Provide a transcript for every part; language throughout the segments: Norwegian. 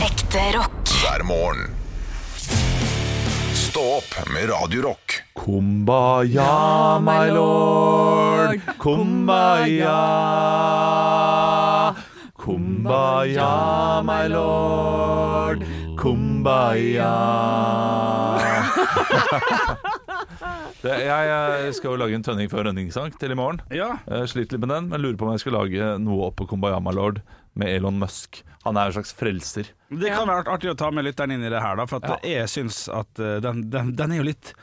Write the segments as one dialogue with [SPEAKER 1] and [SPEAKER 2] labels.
[SPEAKER 1] Ekte rock.
[SPEAKER 2] hver morgen. Stå opp med Radio Rock.
[SPEAKER 3] Kumbaya, my lord. Kumbaya. Kumbaya, my lord. Kumbaya. Det, jeg, jeg skal jo lage en tønning før rønningssang til i morgen.
[SPEAKER 4] Ja.
[SPEAKER 3] Eh, Sliter litt med den, men lurer på om jeg skal lage noe opp på Kumbaya, my lord med Elon Musk. Han er en slags frelser.
[SPEAKER 4] Det kan være art- artig å ta med lytteren inn i det her, da, for at jeg syns at eh, den, den, den er jo litt,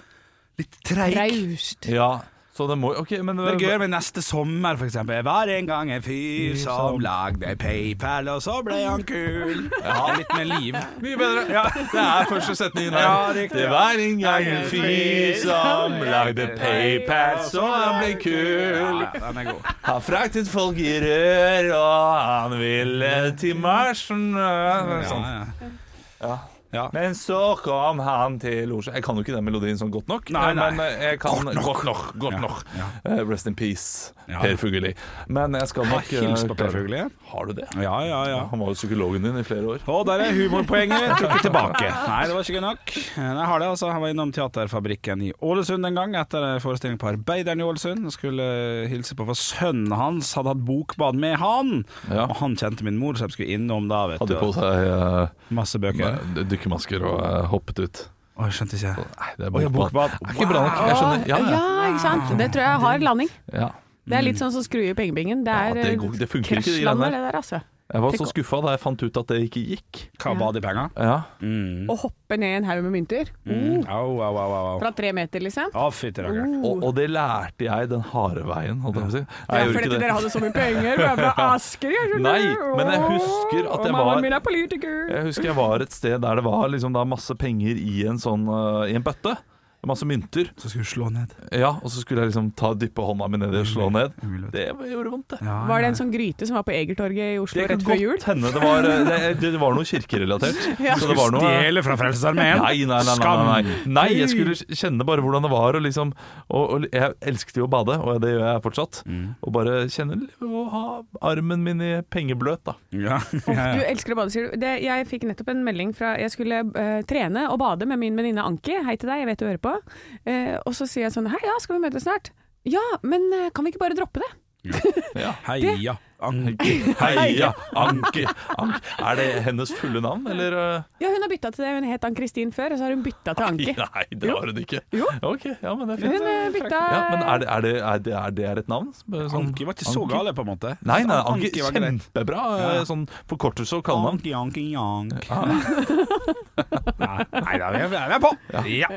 [SPEAKER 4] litt treig.
[SPEAKER 5] Raust.
[SPEAKER 3] Ja, så det må Ok, men eh,
[SPEAKER 4] Det er gøy med neste sommer, for eksempel. Jeg var en gang en fyr som lagde PayPal, og så ble han kul. Ja, litt med liv.
[SPEAKER 3] Mye bedre.
[SPEAKER 4] Ja.
[SPEAKER 3] Det er første setningen her.
[SPEAKER 4] Ja, riktig.
[SPEAKER 3] det var en gang en fyr som lagde PayPal, så han ble kul.
[SPEAKER 4] sånn, Ja, den er god.
[SPEAKER 3] Han fraktet folk i rør, og han ville til Marsen. og
[SPEAKER 4] Ja,
[SPEAKER 3] Sånn.
[SPEAKER 4] ja.
[SPEAKER 3] Men så kom han til Oslo Jeg kan jo ikke den melodien sånn godt nok.
[SPEAKER 4] Nei, nei.
[SPEAKER 3] Men jeg kan godt nok. Godt nok,
[SPEAKER 4] Ja,
[SPEAKER 3] Eh, Rest in peace,
[SPEAKER 4] Ja.
[SPEAKER 3] Per Fugelli. Men jeg skal nok eh,
[SPEAKER 4] Hils på Per
[SPEAKER 3] klare-
[SPEAKER 4] Fugelli.
[SPEAKER 3] Har du det?
[SPEAKER 4] Ja, ja, ja.
[SPEAKER 3] Han var jo psykologen din i flere år.
[SPEAKER 4] Og der er humorpoenget trukket tilbake. Nei, det var ikke gøy nok. Men Jeg har det, altså. Han var innom Teaterfabrikken i Ålesund en gang, etter en forestilling på Arbeideren i Ålesund. Og skulle hilse på, for sønnen hans hadde hatt bokbad med han.
[SPEAKER 3] Ja.
[SPEAKER 4] Og han kjente min mor, så de skulle innom da, vet
[SPEAKER 3] Hadde på
[SPEAKER 4] du.
[SPEAKER 3] seg eh,
[SPEAKER 4] Masse bøker.
[SPEAKER 3] Med dykkermasker og eh, hoppet ut.
[SPEAKER 4] Å, jeg skjønte ikke.
[SPEAKER 3] Nei, det er
[SPEAKER 4] Å, ja, bokbad.
[SPEAKER 3] Det er ikke bra nok. Jeg skjønner. Ja, ja.
[SPEAKER 5] Ja, ikke sant. Det tror jeg har landing.
[SPEAKER 3] ja. Mm.
[SPEAKER 5] Det er litt sånn som skru i pengebingen. Det
[SPEAKER 3] Ja,
[SPEAKER 5] er eh,
[SPEAKER 3] det går- det funker ikke, de
[SPEAKER 5] krasjlander,
[SPEAKER 3] greiene
[SPEAKER 5] det der, altså.
[SPEAKER 3] Jeg var
[SPEAKER 5] Tenk
[SPEAKER 3] så
[SPEAKER 5] å-
[SPEAKER 3] skuffa da jeg fant ut at det ikke gikk.
[SPEAKER 4] Hva bad i penger?
[SPEAKER 3] Ja.
[SPEAKER 4] Mm.
[SPEAKER 5] Å hoppe ned i en haug med mynter.
[SPEAKER 4] Mm. Au, au, au, au. au.
[SPEAKER 5] Fra tre meter, liksom.
[SPEAKER 4] Å, fytti rakkeren.
[SPEAKER 3] Og, og det lærte jeg den harde veien, holdt jeg på å si. Nei,
[SPEAKER 5] Ja,
[SPEAKER 3] jeg
[SPEAKER 5] fordi
[SPEAKER 3] gjorde
[SPEAKER 5] at
[SPEAKER 3] ikke
[SPEAKER 5] dere
[SPEAKER 3] det.
[SPEAKER 5] hadde så mye penger. Vi er fra Asker, jeg skjønner.
[SPEAKER 3] Nei, men jeg husker at
[SPEAKER 5] Åh,
[SPEAKER 3] jeg var-
[SPEAKER 5] Mammaen min er politiker.
[SPEAKER 3] Jeg husker jeg var et sted der det var liksom da masse penger i en sånn eh, i en bøtte. Masse mynter.
[SPEAKER 5] Uh.
[SPEAKER 4] Så skulle du slå ned.
[SPEAKER 3] Ja, og så skulle jeg liksom ta dyppe hånda mi nedi og slå ned.
[SPEAKER 4] Umulig.
[SPEAKER 3] Det gjorde vondt, det.
[SPEAKER 4] Ja,
[SPEAKER 5] Var det en sånn gryte som var på Egertorget i Oslo
[SPEAKER 3] Det kan
[SPEAKER 5] rett før jul?
[SPEAKER 3] godt hende det var eh, Det, det var noe kirkerelatert.
[SPEAKER 5] Ja.
[SPEAKER 3] Så det var noe
[SPEAKER 4] Stjele fra Frelsesarmeen?
[SPEAKER 3] Nei, nei, nei, nei, nei, nei.
[SPEAKER 4] Skam.
[SPEAKER 3] nei jeg skulle kjenne bare hvordan det var. Og liksom, og, og jeg elsket jo å bade, og det gjør jeg fortsatt.
[SPEAKER 4] Mm.
[SPEAKER 3] Og bare kjenne og ha armen min i pengebløt, da.
[SPEAKER 4] Ja.
[SPEAKER 5] Du elsker å bade, sier du. Det, jeg fikk nettopp en melding fra Jeg skulle eh, trene og bade med min venninne Anki. Hei til deg, jeg vet du hører på. Eh, og så sier jeg sånn Hei, ja, skal vi møtes snart? Ja, men eh, kan vi ikke bare droppe det?
[SPEAKER 4] Heia. Anki.
[SPEAKER 3] Heia Anki! Anki. Er det hennes fulle navn, eller? eh?
[SPEAKER 5] Ja, hun har bytta til det. Hun het Ann-Kristin før, og så har hun bytta til Anki.
[SPEAKER 3] Nei, det var hun ikke.
[SPEAKER 5] Jo.
[SPEAKER 3] Ok, ja, men det er
[SPEAKER 5] Hun
[SPEAKER 3] fint.
[SPEAKER 5] eh, bytta
[SPEAKER 3] Ja, men er det, er det, er det, er det er et navn? Sånn-
[SPEAKER 4] Anki var ikke så
[SPEAKER 3] Anki?
[SPEAKER 4] gale, på en måte.
[SPEAKER 3] Nei, nei, Anki,
[SPEAKER 4] Anki var greit.
[SPEAKER 3] kjempebra eh,
[SPEAKER 4] Ja.
[SPEAKER 3] sånn forkortelse og kallenavn. Ah.
[SPEAKER 4] Anki, Anki, Jank. Nei da, vi er, vi er på! Ja.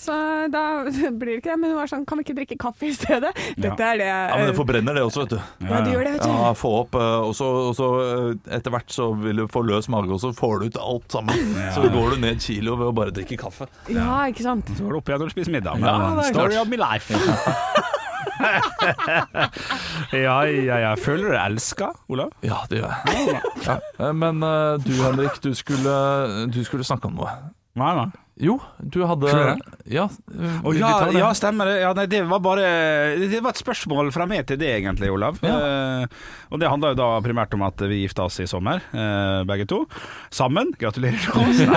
[SPEAKER 5] Så da blir det ikke det. Men hun var sånn Kan vi ikke drikke kaffe i stedet? Dette er det
[SPEAKER 3] Ja, men det
[SPEAKER 5] eh,
[SPEAKER 3] forbrenner det også, vet du.
[SPEAKER 5] Ja, det gjør det, vet du.
[SPEAKER 3] Ja, få opp, eh, og så, og så eh, etter hvert så vil du få løs mage, og så får du ut alt sammen. Så går du ned kilo ved å bare drikke kaffe.
[SPEAKER 5] ja, ikke sant.
[SPEAKER 4] Så går det opp igjen når du spiser
[SPEAKER 3] Ja,
[SPEAKER 4] middag. Men,
[SPEAKER 3] det er
[SPEAKER 4] Story
[SPEAKER 3] klart.
[SPEAKER 4] of my life. ja, ja, ja. Føler du deg elska, Olav?
[SPEAKER 3] Ja, det gjør jeg. Ja. Eh, Men eh, du, Henrik, du skulle, du skulle snakke om noe.
[SPEAKER 4] Nei, nei.
[SPEAKER 3] Jo, du hadde
[SPEAKER 4] Skulle
[SPEAKER 3] Ja, eh,
[SPEAKER 4] Å,
[SPEAKER 3] vi- vi
[SPEAKER 4] ja,
[SPEAKER 3] tar det.
[SPEAKER 4] ja, stemmer det. Ja, nei, det var bare Det var et spørsmål fra meg til det, egentlig, Olav. Eh, og det handla jo da primært om at vi gifta oss i sommer, eh, begge to. Sammen. Gratulerer til oss.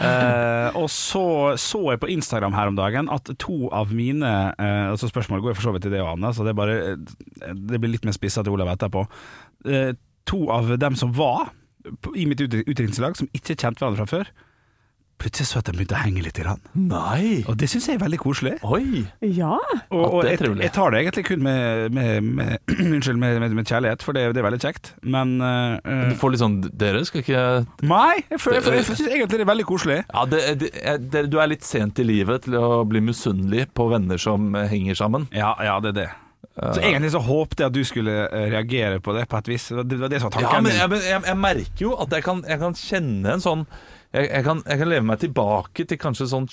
[SPEAKER 4] Eh, og så så jeg på Instagram her om dagen at to av mine eh, Altså Spørsmålet går jo for så vidt til det og Anne, så det, er bare, eh, det blir litt mer spissa til Olav etterpå. Eh, to av dem som var på- i mitt ut- utdrikningslag, som ikke kjente hverandre fra før, plutselig så at de begynte å henge litt. i rand.
[SPEAKER 3] Nei!
[SPEAKER 4] Og det syns jeg er veldig koselig.
[SPEAKER 3] Oi!
[SPEAKER 5] Ja.
[SPEAKER 4] Og, og
[SPEAKER 3] det er
[SPEAKER 4] jeg,
[SPEAKER 3] trivelig.
[SPEAKER 4] jeg tar det egentlig kun med, med, med, unnskyld, med, med, med kjærlighet, for det, det er veldig kjekt. Men
[SPEAKER 3] Du
[SPEAKER 4] eh,
[SPEAKER 3] får litt sånn Dere skal ikke
[SPEAKER 4] Nei, jeg, føler- jeg, føler- jeg syns egentlig det er veldig koselig.
[SPEAKER 3] Ja, det, det, eh, dere- Du er litt sent i livet til å bli misunnelig på venner som eh, henger sammen. Eh,
[SPEAKER 4] Ja, ja, det er det. Så egentlig så håpte jeg at du skulle eh, reagere på det på et vis. Det var- det var det som var tanken
[SPEAKER 3] Ja, men
[SPEAKER 4] min.
[SPEAKER 3] jeg, men jeg, jeg merker jo at jeg kan, jeg kan kjenne en sånn jeg, jeg, kan, jeg kan leve meg tilbake til kanskje sånn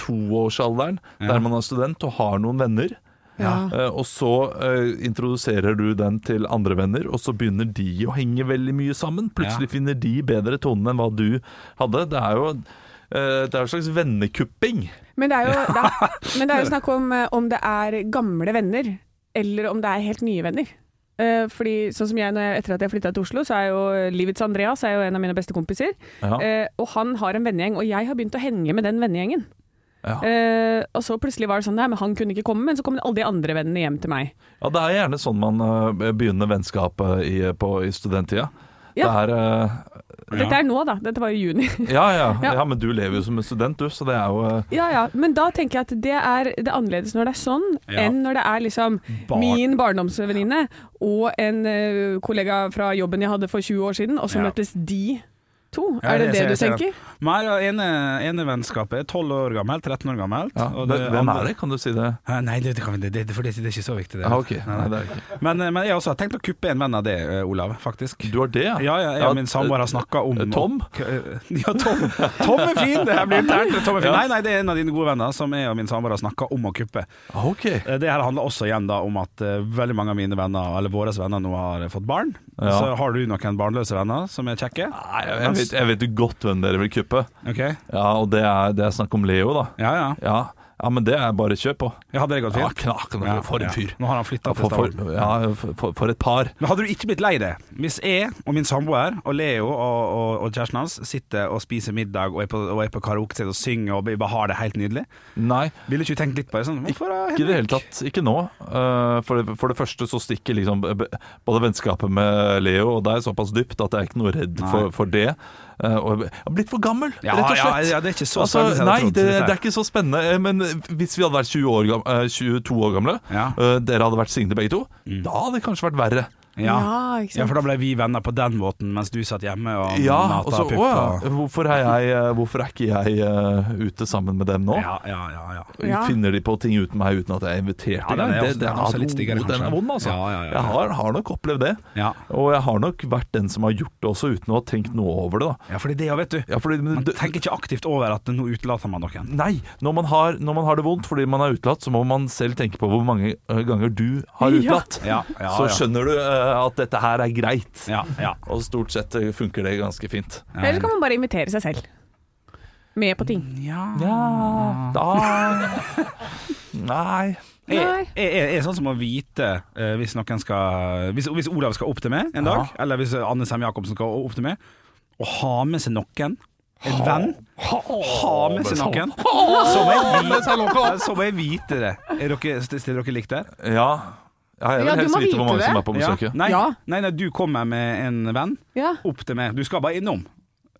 [SPEAKER 3] 22-årsalderen, der man er student og har noen venner.
[SPEAKER 5] Ja.
[SPEAKER 3] Eh, og så eh, introduserer du den til andre venner, og så begynner de å henge veldig mye sammen. Plutselig finner de bedre tonen enn hva du hadde. Det er jo eh, det er jo en slags vennekupping.
[SPEAKER 5] Men det er jo, det er, men det er jo snakk om eh, om det er gamle venner, eller om det er helt nye venner. Eh, fordi sånn som jeg, når jeg, Etter at jeg flytta til Oslo, så er jo eh, livets Andreas er jo en av mine beste kompiser.
[SPEAKER 3] Ja.
[SPEAKER 5] Eh, og han har en vennegjeng, og jeg har begynt å henge med den vennegjengen.
[SPEAKER 3] Ja.
[SPEAKER 5] Eh, og så plutselig var det sånn Nei, men han kunne ikke komme, men så kom alle de andre vennene hjem til meg.
[SPEAKER 3] Ja, det er gjerne sånn man eh, begynner vennskapet i, på, i studenttida. Det
[SPEAKER 5] Ja.
[SPEAKER 3] er,
[SPEAKER 5] Og Dette er nå, da. Dette var i juni.
[SPEAKER 3] eh, ja, ja,
[SPEAKER 5] Ja.
[SPEAKER 3] ja, men du lever jo som en student, du, så det er jo eh,
[SPEAKER 5] ja, ja. Men da tenker jeg at det er det er annerledes når det er sånn,
[SPEAKER 4] Ja.
[SPEAKER 5] enn når det er liksom
[SPEAKER 4] Barn.
[SPEAKER 5] min barndomsvenninne og en eh, kollega fra jobben jeg hadde for 20 år siden, og så
[SPEAKER 4] Ja.
[SPEAKER 5] møttes de to.
[SPEAKER 4] Ja,
[SPEAKER 5] er det det,
[SPEAKER 4] ser-
[SPEAKER 5] du
[SPEAKER 4] ser jeg.
[SPEAKER 5] tenker?
[SPEAKER 4] Nei, ja, ene, ene vennskapet er 12 år gammelt, 13 år gammelt.
[SPEAKER 3] ja.
[SPEAKER 4] og
[SPEAKER 3] Hvem
[SPEAKER 4] andre-
[SPEAKER 3] er det, kan du si det?
[SPEAKER 4] Eh, Nei, det, det, kan vi- det, det, for det, det er ikke så viktig. Det.
[SPEAKER 3] Ja, ok.
[SPEAKER 4] Nei,
[SPEAKER 3] Nei, det er ikke.
[SPEAKER 4] Men, eh, men jeg også har tenkt å kuppe en venn av det, eh, Olav, faktisk.
[SPEAKER 3] Du har det, ja? Eh,
[SPEAKER 4] Ja, ja, jeg og min samboer har snakka om eh,
[SPEAKER 3] Tom?
[SPEAKER 4] Ja, Tom. Tom er fin! Det her blir internt. Tom er fin. Nei, nei, det er en av dine gode venner som jeg og min samboer har snakka om å kuppe.
[SPEAKER 3] Ah, Ok.
[SPEAKER 4] Eh, Det her handler også igjen da om at eh, veldig mange av mine venner, eller våre venner, nå har fått barn.
[SPEAKER 3] Ja.
[SPEAKER 4] Så har du noen barnløse venner som er kjekke?
[SPEAKER 3] Nei, jeg vet, jeg vet jo godt hvem dere vil kuppe.
[SPEAKER 4] Ok,
[SPEAKER 3] Ja, og det er, det er snakk om Leo, da.
[SPEAKER 4] Ja, ja.
[SPEAKER 3] Ja, ja men det er bare kjør på.
[SPEAKER 4] Jeg hadde det gått
[SPEAKER 3] Ja,
[SPEAKER 4] fint.
[SPEAKER 3] knakende
[SPEAKER 4] Ja,
[SPEAKER 3] for
[SPEAKER 4] ja.
[SPEAKER 3] en fyr.
[SPEAKER 4] Nå har han flytta
[SPEAKER 3] Ja,
[SPEAKER 4] til
[SPEAKER 3] for,
[SPEAKER 4] Stavanger.
[SPEAKER 3] for, ja, for, for et par.
[SPEAKER 4] Men hadde du ikke blitt lei deg hvis jeg og min samboer og Leo og, og, og kjæresten hans sitter og spiser middag og er på, og er på karaoke og synger og bare har det helt nydelig?
[SPEAKER 3] Nei,
[SPEAKER 4] Ville ikke du tenkt litt på det? Sånn, hvorfor har
[SPEAKER 3] ikke i det hele
[SPEAKER 4] Henrik-
[SPEAKER 3] tatt. Ikke nå. Eh, For det, for det første så stikker liksom b- b- både vennskapet med Leo og deg såpass dypt at jeg er ikke noe redd for, for det. Eh, Og jeg er blitt for gammel,
[SPEAKER 4] Ja,
[SPEAKER 3] rett og
[SPEAKER 4] ja,
[SPEAKER 3] slett.
[SPEAKER 4] ja, det er ikke så
[SPEAKER 3] altså,
[SPEAKER 4] spennende som jeg
[SPEAKER 3] Nei,
[SPEAKER 4] hadde trodd,
[SPEAKER 3] det,
[SPEAKER 4] dette her.
[SPEAKER 3] det er ikke så spennende. eh, Men hvis vi hadde vært 20 år, gam- eh, 22 år gamle,
[SPEAKER 4] Ja. Mm.
[SPEAKER 3] eh, dere hadde vært single begge to, da hadde det kanskje vært verre.
[SPEAKER 4] Ja.
[SPEAKER 5] Ja, ikke sant?
[SPEAKER 4] ja, for da ble vi venner på den måten mens du satt hjemme og
[SPEAKER 3] Ja, og
[SPEAKER 4] mata
[SPEAKER 3] så
[SPEAKER 4] pupp.
[SPEAKER 3] Å ja,
[SPEAKER 4] og-
[SPEAKER 3] hvorfor er, jeg, eh, hvorfor er ikke jeg eh, ute sammen med dem nå?
[SPEAKER 4] Ja, ja, ja, ja.
[SPEAKER 5] Ja.
[SPEAKER 3] Finner de på ting uten meg uten at jeg er invitert
[SPEAKER 4] Ja, den
[SPEAKER 3] engang?
[SPEAKER 4] er
[SPEAKER 3] Det-
[SPEAKER 4] også- den er også litt
[SPEAKER 3] den
[SPEAKER 4] styggere,
[SPEAKER 3] er
[SPEAKER 4] kanskje.
[SPEAKER 3] vond, altså.
[SPEAKER 4] Ja, ja, ja.
[SPEAKER 3] Jeg har, har nok opplevd det.
[SPEAKER 4] Ja.
[SPEAKER 3] Og jeg har nok vært den som har gjort det også, uten å ha tenkt noe over det. da
[SPEAKER 4] ja, for det er det, ja, vet du.
[SPEAKER 3] ja, fordi, men,
[SPEAKER 4] Man
[SPEAKER 3] det-
[SPEAKER 4] tenker ikke aktivt over at nå utelater man noen.
[SPEAKER 3] Nei, når man, har, når man har det vondt fordi man er utelatt, så må man selv tenke på hvor mange eh, ganger du har
[SPEAKER 5] Ja.
[SPEAKER 3] utelatt.
[SPEAKER 4] Ja, ja,
[SPEAKER 3] Så
[SPEAKER 4] ja.
[SPEAKER 3] skjønner du eh, at dette her er greit.
[SPEAKER 4] Ja, ja.
[SPEAKER 3] Og stort sett eh, funker det ganske fint.
[SPEAKER 5] Eller så kan man bare invitere seg selv. Med på ting.
[SPEAKER 4] ja.
[SPEAKER 3] Ja
[SPEAKER 5] Ah.
[SPEAKER 3] Da Nei.
[SPEAKER 4] Jeg,
[SPEAKER 5] Nei.
[SPEAKER 4] jeg, jeg, jeg er sånn som å vite eh, hvis, noen skal, hvis, hvis Olav skal opp til meg en dag, eller hvis eh, Anne Sem Jacobsen skal opp til meg, å ha med seg noen. En venn. Ha, med seg noen. Så må jeg vite, så må jeg vite det. Er dere, stiller dere likt der?
[SPEAKER 3] Ja. ja jeg vil
[SPEAKER 5] Ja, du
[SPEAKER 3] helst
[SPEAKER 5] må
[SPEAKER 3] vite hvor
[SPEAKER 5] vite
[SPEAKER 3] mange
[SPEAKER 5] det.
[SPEAKER 3] som er på besøket.
[SPEAKER 4] Nei,
[SPEAKER 5] Ja.
[SPEAKER 4] nei, nei, du kommer med en venn
[SPEAKER 5] Ja,
[SPEAKER 4] opp til meg. Du skal bare innom.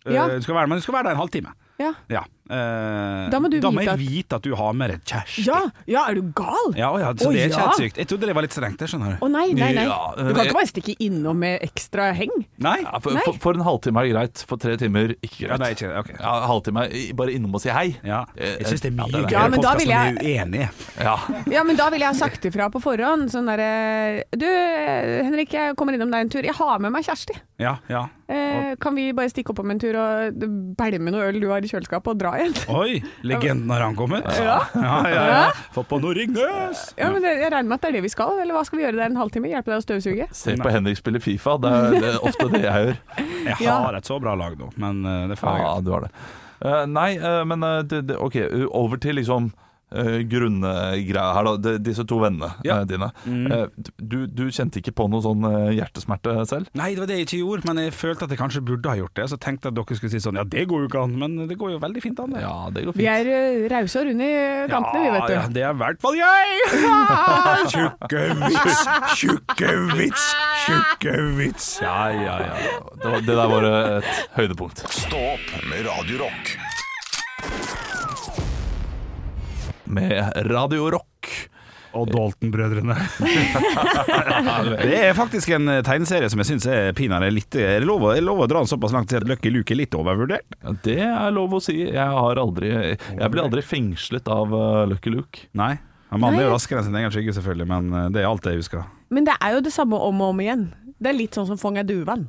[SPEAKER 4] Eh,
[SPEAKER 5] Ja.
[SPEAKER 4] Du skal være, men du skal være der en halvtime.
[SPEAKER 5] ja.
[SPEAKER 4] Ja. Eh,
[SPEAKER 5] Da må du
[SPEAKER 4] da må
[SPEAKER 5] vite at-
[SPEAKER 4] jeg vite at du har med deg kjæreste.
[SPEAKER 5] Ja, ja, er du gal? Å
[SPEAKER 4] Ja, å ja, så
[SPEAKER 5] Å,
[SPEAKER 4] det er ikke
[SPEAKER 5] ja.
[SPEAKER 4] helt sykt. Jeg trodde det var litt strengt, det skjønner du.
[SPEAKER 5] nei, nei, nei.
[SPEAKER 3] Ja,
[SPEAKER 5] Du
[SPEAKER 4] eh,
[SPEAKER 5] kan ikke bare stikke innom med ekstra heng.
[SPEAKER 4] Nei?
[SPEAKER 3] Ja, for,
[SPEAKER 5] Nei.
[SPEAKER 3] for, for en halvtime er det greit, for tre timer ikke greit.
[SPEAKER 4] Ja, det er ikke det. Ok.
[SPEAKER 3] Ja, halvtime er i- bare innom og si hei.
[SPEAKER 4] Ja.
[SPEAKER 3] Eh,
[SPEAKER 4] Jeg syns det er mye
[SPEAKER 3] ja, det er
[SPEAKER 4] gøyere
[SPEAKER 3] det.
[SPEAKER 5] Ja, men da
[SPEAKER 4] podcast
[SPEAKER 5] vil
[SPEAKER 4] når vi er uenige.
[SPEAKER 3] Ja.
[SPEAKER 5] Ja, men da ville jeg ha sagt ifra på forhånd. Sånn derre Du, eh, Henrik, jeg kommer innom deg en tur. Jeg har med meg Kjersti.
[SPEAKER 4] Ja, ja.
[SPEAKER 5] Eh, kan vi bare stikke oppom en tur og bælme noe øl du har i kjøleskapet, og dra igjen?
[SPEAKER 4] Oi, legenden har ankommet.
[SPEAKER 5] Ja.
[SPEAKER 4] Ja, ja, ja.
[SPEAKER 5] Ja.
[SPEAKER 4] Fått på noe Ringnes!
[SPEAKER 5] Ja, men det, Jeg regner med at det er det vi skal, eller hva skal vi gjøre der en halvtime? Hjelpe deg å støvsuge?
[SPEAKER 3] Se på Henrik spille Fifa, det er, det er ofte det jeg gjør.
[SPEAKER 4] Jeg
[SPEAKER 5] Ja.
[SPEAKER 4] har et så bra lag nå, men eh, det får jeg.
[SPEAKER 3] Ja, du har det. Eh, nei, eh, men eh, det, det, OK, eh, over til liksom uh, grunngreia her, da. De, disse to vennene
[SPEAKER 4] Ja.
[SPEAKER 3] eh, dine. Eh, du, du kjente ikke på noe sånn eh, hjertesmerte selv?
[SPEAKER 4] Nei, det var det jeg ikke gjorde, men jeg følte at jeg kanskje burde ha gjort det. Så tenkte jeg at dere skulle si sånn Ja, det går jo ikke an, men det går jo veldig fint an. det.
[SPEAKER 3] Ja, det går
[SPEAKER 5] Vi
[SPEAKER 3] fint.
[SPEAKER 5] er eh, rause og runde i kantene, vi, vet du.
[SPEAKER 4] Ja, det er i hvert fall jeg! Tjukke vits, tjukke vits, tjukke vits. Ja, ja, ja.
[SPEAKER 3] Det, var- det der var eh, et høydepunkt.
[SPEAKER 2] Stå opp med Radio Rock.
[SPEAKER 3] Med Radio Rock.
[SPEAKER 4] Og Dalton-brødrene. det er faktisk en eh, tegneserie som jeg syns er pinadø litt eh, Er det lov, å- er det lov å dra den såpass langt til at Lucky Luke er litt overvurdert?
[SPEAKER 3] Ja, Det er lov å si. Jeg, har aldri, jeg ble aldri fengslet av eh, Lucky Luke.
[SPEAKER 4] Nei. Ja, Mannen er jo
[SPEAKER 5] Nei.
[SPEAKER 4] raskere enn sin egen skygge, selvfølgelig, men eh, det er alt jeg husker.
[SPEAKER 5] Men det er jo det samme om og om igjen. Det er litt sånn som Fånga duvan.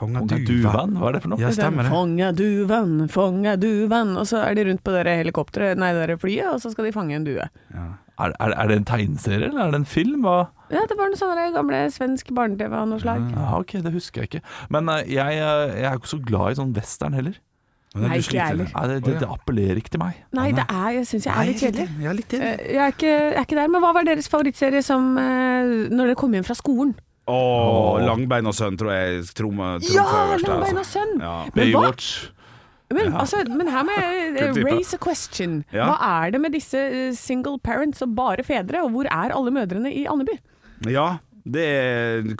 [SPEAKER 4] Fanga
[SPEAKER 3] Kongen Duvan, hva er det for noe?
[SPEAKER 4] Ja, stemmer det.
[SPEAKER 5] Fånga duvan, fånga duvan. Og så er de rundt på det der helikopteret, nei, det der flyet, og så skal de fange en due.
[SPEAKER 3] Er, er, er det en tegneserie, eller er det en film? Hva?
[SPEAKER 5] Ja, det var noe sånn der gamle svensk barne-TV av noe
[SPEAKER 4] Mm.
[SPEAKER 5] slag.
[SPEAKER 3] Ja, ok, det husker jeg ikke. Men eh, jeg, eh, jeg er ikke så glad i sånn western heller.
[SPEAKER 4] Men
[SPEAKER 5] Nei, ikke
[SPEAKER 4] du
[SPEAKER 5] jeg
[SPEAKER 4] sliter.
[SPEAKER 5] heller.
[SPEAKER 3] Nei, det, det, det appellerer ikke til meg.
[SPEAKER 5] Nei, det er, jeg syns jeg er litt kjedelig.
[SPEAKER 4] Ja, litt
[SPEAKER 5] Eh, Jeg er ikke, jeg er ikke der, men hva var deres favorittserie som eh, Når dere kom hjem fra skolen?
[SPEAKER 4] Å Åh, Langbein og sønn tror jeg trommer
[SPEAKER 5] Ja, Langbein og sønn!
[SPEAKER 4] altså. Ja.
[SPEAKER 5] Men hva?
[SPEAKER 3] Baywatch.
[SPEAKER 5] Men, altså, men her må jeg eh,
[SPEAKER 4] Kultippe.
[SPEAKER 5] raise a question.
[SPEAKER 4] Ja.
[SPEAKER 5] Hva er det med disse eh, single parents og bare fedre, og hvor er alle mødrene i Andeby?
[SPEAKER 4] Ja, det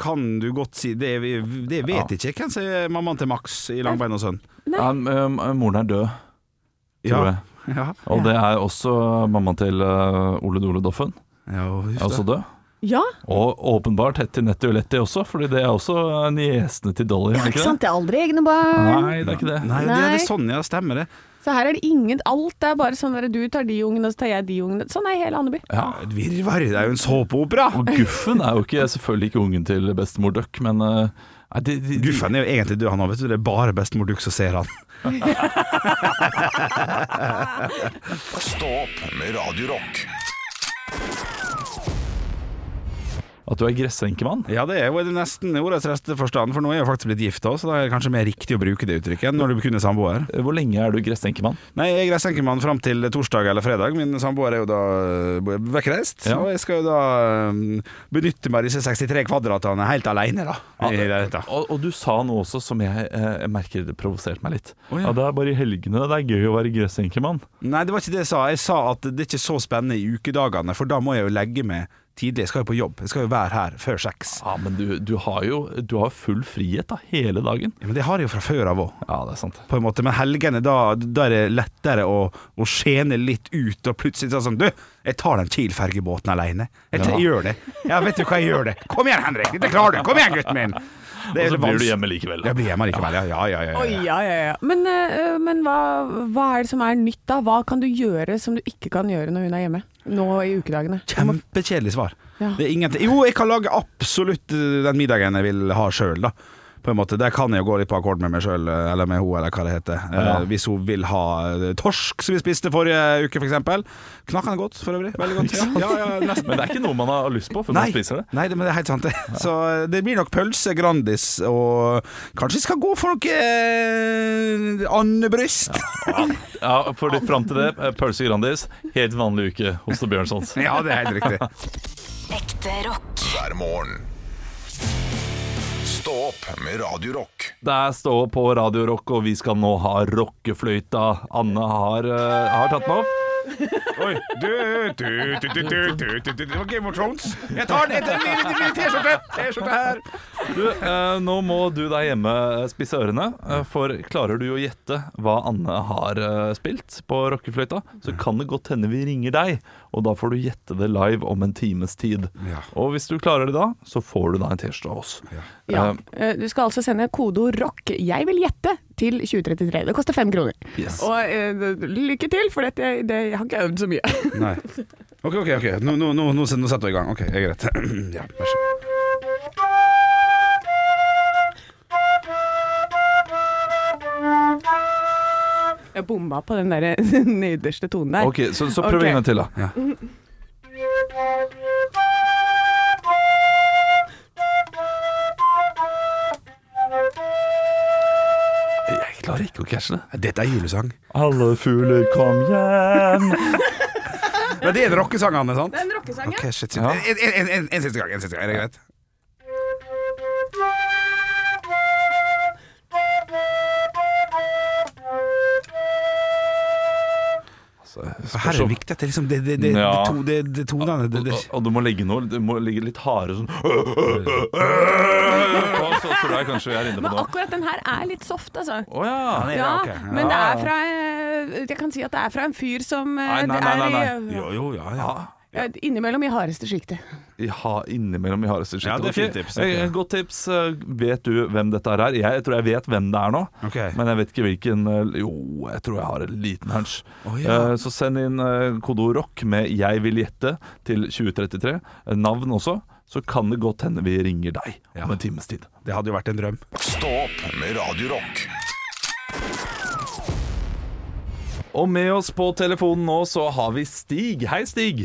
[SPEAKER 4] kan du godt si. Det, det vet ikke jeg hvem som er mammaen til Max i Langbein og sønn.
[SPEAKER 5] Nei.
[SPEAKER 3] Ja, m- eh, moren er død, tror
[SPEAKER 4] Ja.
[SPEAKER 3] jeg.
[SPEAKER 4] Ja.
[SPEAKER 3] Og det er også mammaen til eh, Ole Dole Doffen.
[SPEAKER 4] Ja, huff
[SPEAKER 3] Er
[SPEAKER 4] da.
[SPEAKER 3] også død.
[SPEAKER 5] Ja,
[SPEAKER 3] Og åpenbart hett til Nettie og Letty også, fordi det er også eh, niesene til Dolly. er det
[SPEAKER 1] ikke
[SPEAKER 3] ikke
[SPEAKER 1] sant?
[SPEAKER 3] det?
[SPEAKER 1] Det er aldri egne barn.
[SPEAKER 3] Nei, det er ikke det.
[SPEAKER 4] Nei, det er
[SPEAKER 1] Nei.
[SPEAKER 4] det sånn, ja. Stemmer det.
[SPEAKER 5] så her er det ingen Alt er bare sånn der du tar de ungene, og så tar jeg de ungene. Sånn er hele Andeby.
[SPEAKER 3] Ja.
[SPEAKER 4] Et virvar. Det er jo en såpeopera!
[SPEAKER 3] Og Guffen er jo ikke, selvfølgelig ikke ungen til bestemor Duck, men eh, nei, de, de, de,
[SPEAKER 4] Guffen er jo egentlig død, han òg, vet du. Det er bare bestemor Duck som ser han.
[SPEAKER 2] Stå opp med Radio Rock.
[SPEAKER 3] at du er gressenkemann.
[SPEAKER 4] Ja, det er jo nesten i ordets rette forstand, for nå er jeg jo faktisk blitt gift òg, så da er det kanskje mer riktig å bruke det uttrykket enn når du kunne samboer.
[SPEAKER 3] Hvor lenge er du gressenkemann?
[SPEAKER 4] Nei, jeg er gressenkemann fram til torsdag eller fredag. Min samboer er jo da øh, vekkreist.
[SPEAKER 3] Ja.
[SPEAKER 4] Og jeg skal jo da øh, benytte meg av disse 63 kvadratene helt aleine, da. I dette.
[SPEAKER 3] Og, og du sa noe også som jeg eh, merker det provoserte meg litt.
[SPEAKER 4] Å, ja.
[SPEAKER 3] ja. Det er bare i helgene det er gøy å være gressenkemann.
[SPEAKER 4] Nei, det var ikke det jeg sa. Jeg sa at det er ikke så spennende i ukedagene, for da må jeg jo legge meg tidlig. Jeg skal jo på jobb. Jeg skal jo være her før seks.
[SPEAKER 3] Ja, men du, du har jo du har full frihet da, hele dagen.
[SPEAKER 4] Ja, Men det har jeg jo fra før av òg.
[SPEAKER 3] Ja, det er sant.
[SPEAKER 4] På en måte, Men helgene, da, da er det lettere å, å skjene litt ut, og plutselig så er det sånn Du, jeg tar den Kiel-fergebåten aleine. Jeg, jeg gjør det. Ja, vet du hva, jeg gjør det. Kom igjen, Henrik. Dette klarer du. Kom igjen, gutten min. Det
[SPEAKER 3] Og så blir
[SPEAKER 4] vans-
[SPEAKER 3] du hjemme likevel.
[SPEAKER 4] Jeg blir hjemme likevel, ja. ja, ja, ja,
[SPEAKER 5] Oi,
[SPEAKER 4] ja.
[SPEAKER 5] ja, ja, ja. Men, eh, men hva, hva er det som er nytt da? Hva kan du gjøre som du ikke kan gjøre når hun er hjemme? Nå i ukedagene.
[SPEAKER 4] Kjempekjedelig svar.
[SPEAKER 5] Ja.
[SPEAKER 4] Det er ingenting Jo, jeg kan lage absolutt eh, den middagen jeg vil ha sjøl, da. På en måte, Der kan jeg jo gå litt på akkord med meg sjøl, eller med henne, eller hva det heter. Eh,
[SPEAKER 3] Ja.
[SPEAKER 4] Hvis hun vil ha eh, torsk, som vi spiste forrige uke, f.eks. Knakende godt, for øvrig. Veldig godt. Ja, ja, ja, nesten.
[SPEAKER 3] Men det er ikke noe man har lyst på før man spiser det.
[SPEAKER 4] nei, det- men det er helt sant. det. Så eh, det blir nok pølse, Grandis og Kanskje jeg skal gå for noe eh, andebryst?
[SPEAKER 3] Ja, for det, fram til det, eh, pølse Grandis, helt vanlig uke hos The Bjørnsons.
[SPEAKER 4] Ja. det er helt riktig.
[SPEAKER 1] Ekte rock.
[SPEAKER 2] hver morgen. Stå opp med Radio Rock.
[SPEAKER 3] Det er stå på Radio Rock, og vi skal nå ha rockefløyta. Anne har, eh, har tatt den opp.
[SPEAKER 4] Oi. Du, du, du, du, du, du, du, du. Det var Game of Thrones. Jeg tar den etter min min T-skjorte. T-skjorte her.
[SPEAKER 3] Du, eh, nå må du der hjemme eh, spisse ørene, eh, for klarer du å gjette hva Anne har eh, spilt på rockefløyta, så kan det godt hende vi ringer deg, og da får du gjette det live om en times tid.
[SPEAKER 4] Ja.
[SPEAKER 3] Og hvis du klarer det da, så får du da en T-skjorte av oss.
[SPEAKER 5] Ja.
[SPEAKER 3] Eh,
[SPEAKER 5] Eh, Du skal altså sende kodeord 'rock', jeg vil gjette, til 2033. Det koster fem kroner.
[SPEAKER 3] Yes.
[SPEAKER 5] Og eh, lykke til, for dette, det, jeg har ikke øvd så mye.
[SPEAKER 4] Nei. OK, OK. ok Nå, nå, nå, nå set- nå setter vi i gang. OK, jeg er greit. Ja, vær så god.
[SPEAKER 5] Jeg bomma på den der nederste tonen der.
[SPEAKER 3] Ok, så, så prøv
[SPEAKER 5] Ok.
[SPEAKER 3] en gang til da. Jeg klarer ikke å cashe det.
[SPEAKER 4] Dette er julesang.
[SPEAKER 3] Alle fugler kom hjem.
[SPEAKER 4] Men det er en rockesang, Anne, sant?
[SPEAKER 5] En rockesang,
[SPEAKER 4] OK, shit, shit.
[SPEAKER 3] Ja.
[SPEAKER 4] En, en, en, en, en siste gang. En siste gang. Er det greit? Her
[SPEAKER 3] sånn,
[SPEAKER 4] er det viktig at det liksom Det, det, det, det,
[SPEAKER 3] Ja.
[SPEAKER 4] to, det, det tonene det, det.
[SPEAKER 3] Og, og du må legge noe, du må legge litt hardere sånn Og så tror jeg kanskje vi er inne på
[SPEAKER 5] Men
[SPEAKER 3] noe.
[SPEAKER 5] akkurat den her er litt soft, altså.
[SPEAKER 3] Å ja.
[SPEAKER 5] Ja,
[SPEAKER 4] ok.
[SPEAKER 5] men det er fra eh, Jeg kan si at det er fra en fyr som eh,
[SPEAKER 3] Nei, nei,
[SPEAKER 5] det
[SPEAKER 3] nei,
[SPEAKER 5] er i-
[SPEAKER 3] nei, nei.
[SPEAKER 4] Jo, jo, ja, ja.
[SPEAKER 5] eh, Innimellom i hardeste sjiktet.
[SPEAKER 3] I ha, innimellom i hardeste skiktet.
[SPEAKER 4] Ja, det er fint
[SPEAKER 3] Ok.
[SPEAKER 4] tips,
[SPEAKER 3] Eh,
[SPEAKER 4] tenker jeg.
[SPEAKER 3] Godt tips. Eh, Vet du hvem dette er? Jeg, jeg tror jeg vet hvem det er nå,
[SPEAKER 4] Ok.
[SPEAKER 3] men jeg vet ikke hvilken eh, Jo, jeg tror jeg har en liten hunch.
[SPEAKER 4] Å, ja.
[SPEAKER 3] Eh, Så send inn eh, kodeord rock med 'jeg vil gjette' til 2033. Eh, Navn også. Så kan det godt hende vi ringer deg om en times tid.
[SPEAKER 4] Det hadde jo vært en drøm.
[SPEAKER 2] Stå opp med Radio Rock.
[SPEAKER 3] Og med oss på telefonen nå så har vi Stig. Hei, Stig.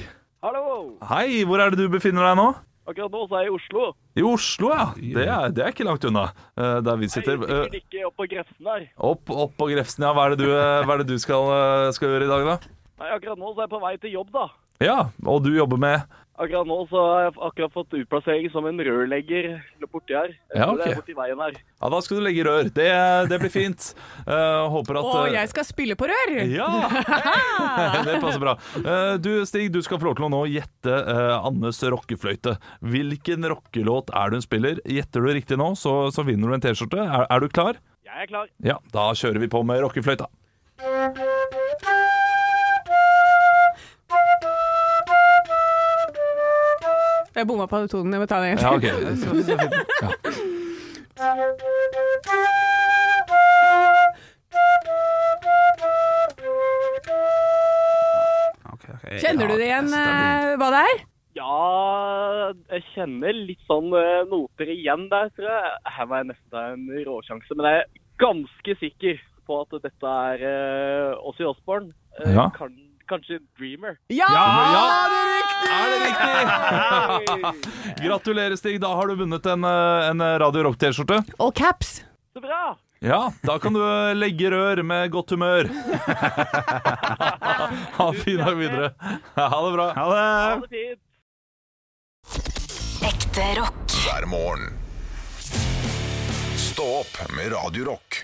[SPEAKER 6] Hallo!
[SPEAKER 3] Hei, hvor er det du befinner deg nå?
[SPEAKER 6] Akkurat nå så er jeg i Oslo.
[SPEAKER 3] I Oslo, ja. Det er, det er ikke langt unna eh, der vi
[SPEAKER 6] Jeg
[SPEAKER 3] sitter.
[SPEAKER 6] er
[SPEAKER 3] Eh,
[SPEAKER 6] sikkert ikke oppe på Grefsen her.
[SPEAKER 3] Opp, opp på Grefsen, ja. Hva er det du, eh, hva er det du skal, eh, skal gjøre i dag, da?
[SPEAKER 6] Nei, akkurat nå så er jeg på vei til jobb, da.
[SPEAKER 3] Ja, og du jobber med
[SPEAKER 6] Akkurat nå så har jeg akkurat fått utplassering som en rørlegger borti her. Jeg
[SPEAKER 3] Ja,
[SPEAKER 6] tror Det
[SPEAKER 3] ok.
[SPEAKER 6] er borti veien her.
[SPEAKER 3] Ja, da skal du legge rør. Det, det blir fint. Eh, håper at
[SPEAKER 5] Å, jeg skal spille på rør!
[SPEAKER 3] Ja! det passer bra. Eh, du, Stig, du skal få lov til å nå gjette eh, Annes rockefløyte. Hvilken rockelåt er det hun spiller? Gjetter du riktig nå, så, så vinner du en T-skjorte. Er, er du klar?
[SPEAKER 6] Jeg er klar.
[SPEAKER 3] Ja, da kjører vi på med rockefløyta.
[SPEAKER 5] Jeg bomma på tonen, jeg må ta den
[SPEAKER 3] Ja,
[SPEAKER 5] igjen.
[SPEAKER 3] ok. Ja.
[SPEAKER 4] Ok, ok. Jeg-
[SPEAKER 5] Kjenner
[SPEAKER 4] ja,
[SPEAKER 5] du det igjen,
[SPEAKER 4] yes, blir-
[SPEAKER 5] eh, hva det er?
[SPEAKER 6] Ja, jeg kjenner litt sånn eh, noter igjen der, tror jeg. Her var jeg nesten ta en råsjanse, men jeg er ganske sikker på at dette er uh, Åssi Osborn. Eh,
[SPEAKER 3] Ja.
[SPEAKER 6] kan, kanskje Dreamer.
[SPEAKER 5] Ja!
[SPEAKER 4] Ja,
[SPEAKER 5] det er riktig!
[SPEAKER 3] Er det riktig?
[SPEAKER 6] Hei!
[SPEAKER 3] Gratulerer, Stig. Da har du vunnet en, eh, en Radio Rock-T-skjorte.
[SPEAKER 5] Og caps.
[SPEAKER 6] Så bra!
[SPEAKER 3] Ja, da kan du eh, legge rør med godt humør. Ha en fin dag videre. Ha det bra.
[SPEAKER 4] Ha det!
[SPEAKER 6] Ha det fint!
[SPEAKER 1] Ekte rock.
[SPEAKER 2] hver morgen. Stå opp med Radio Rock.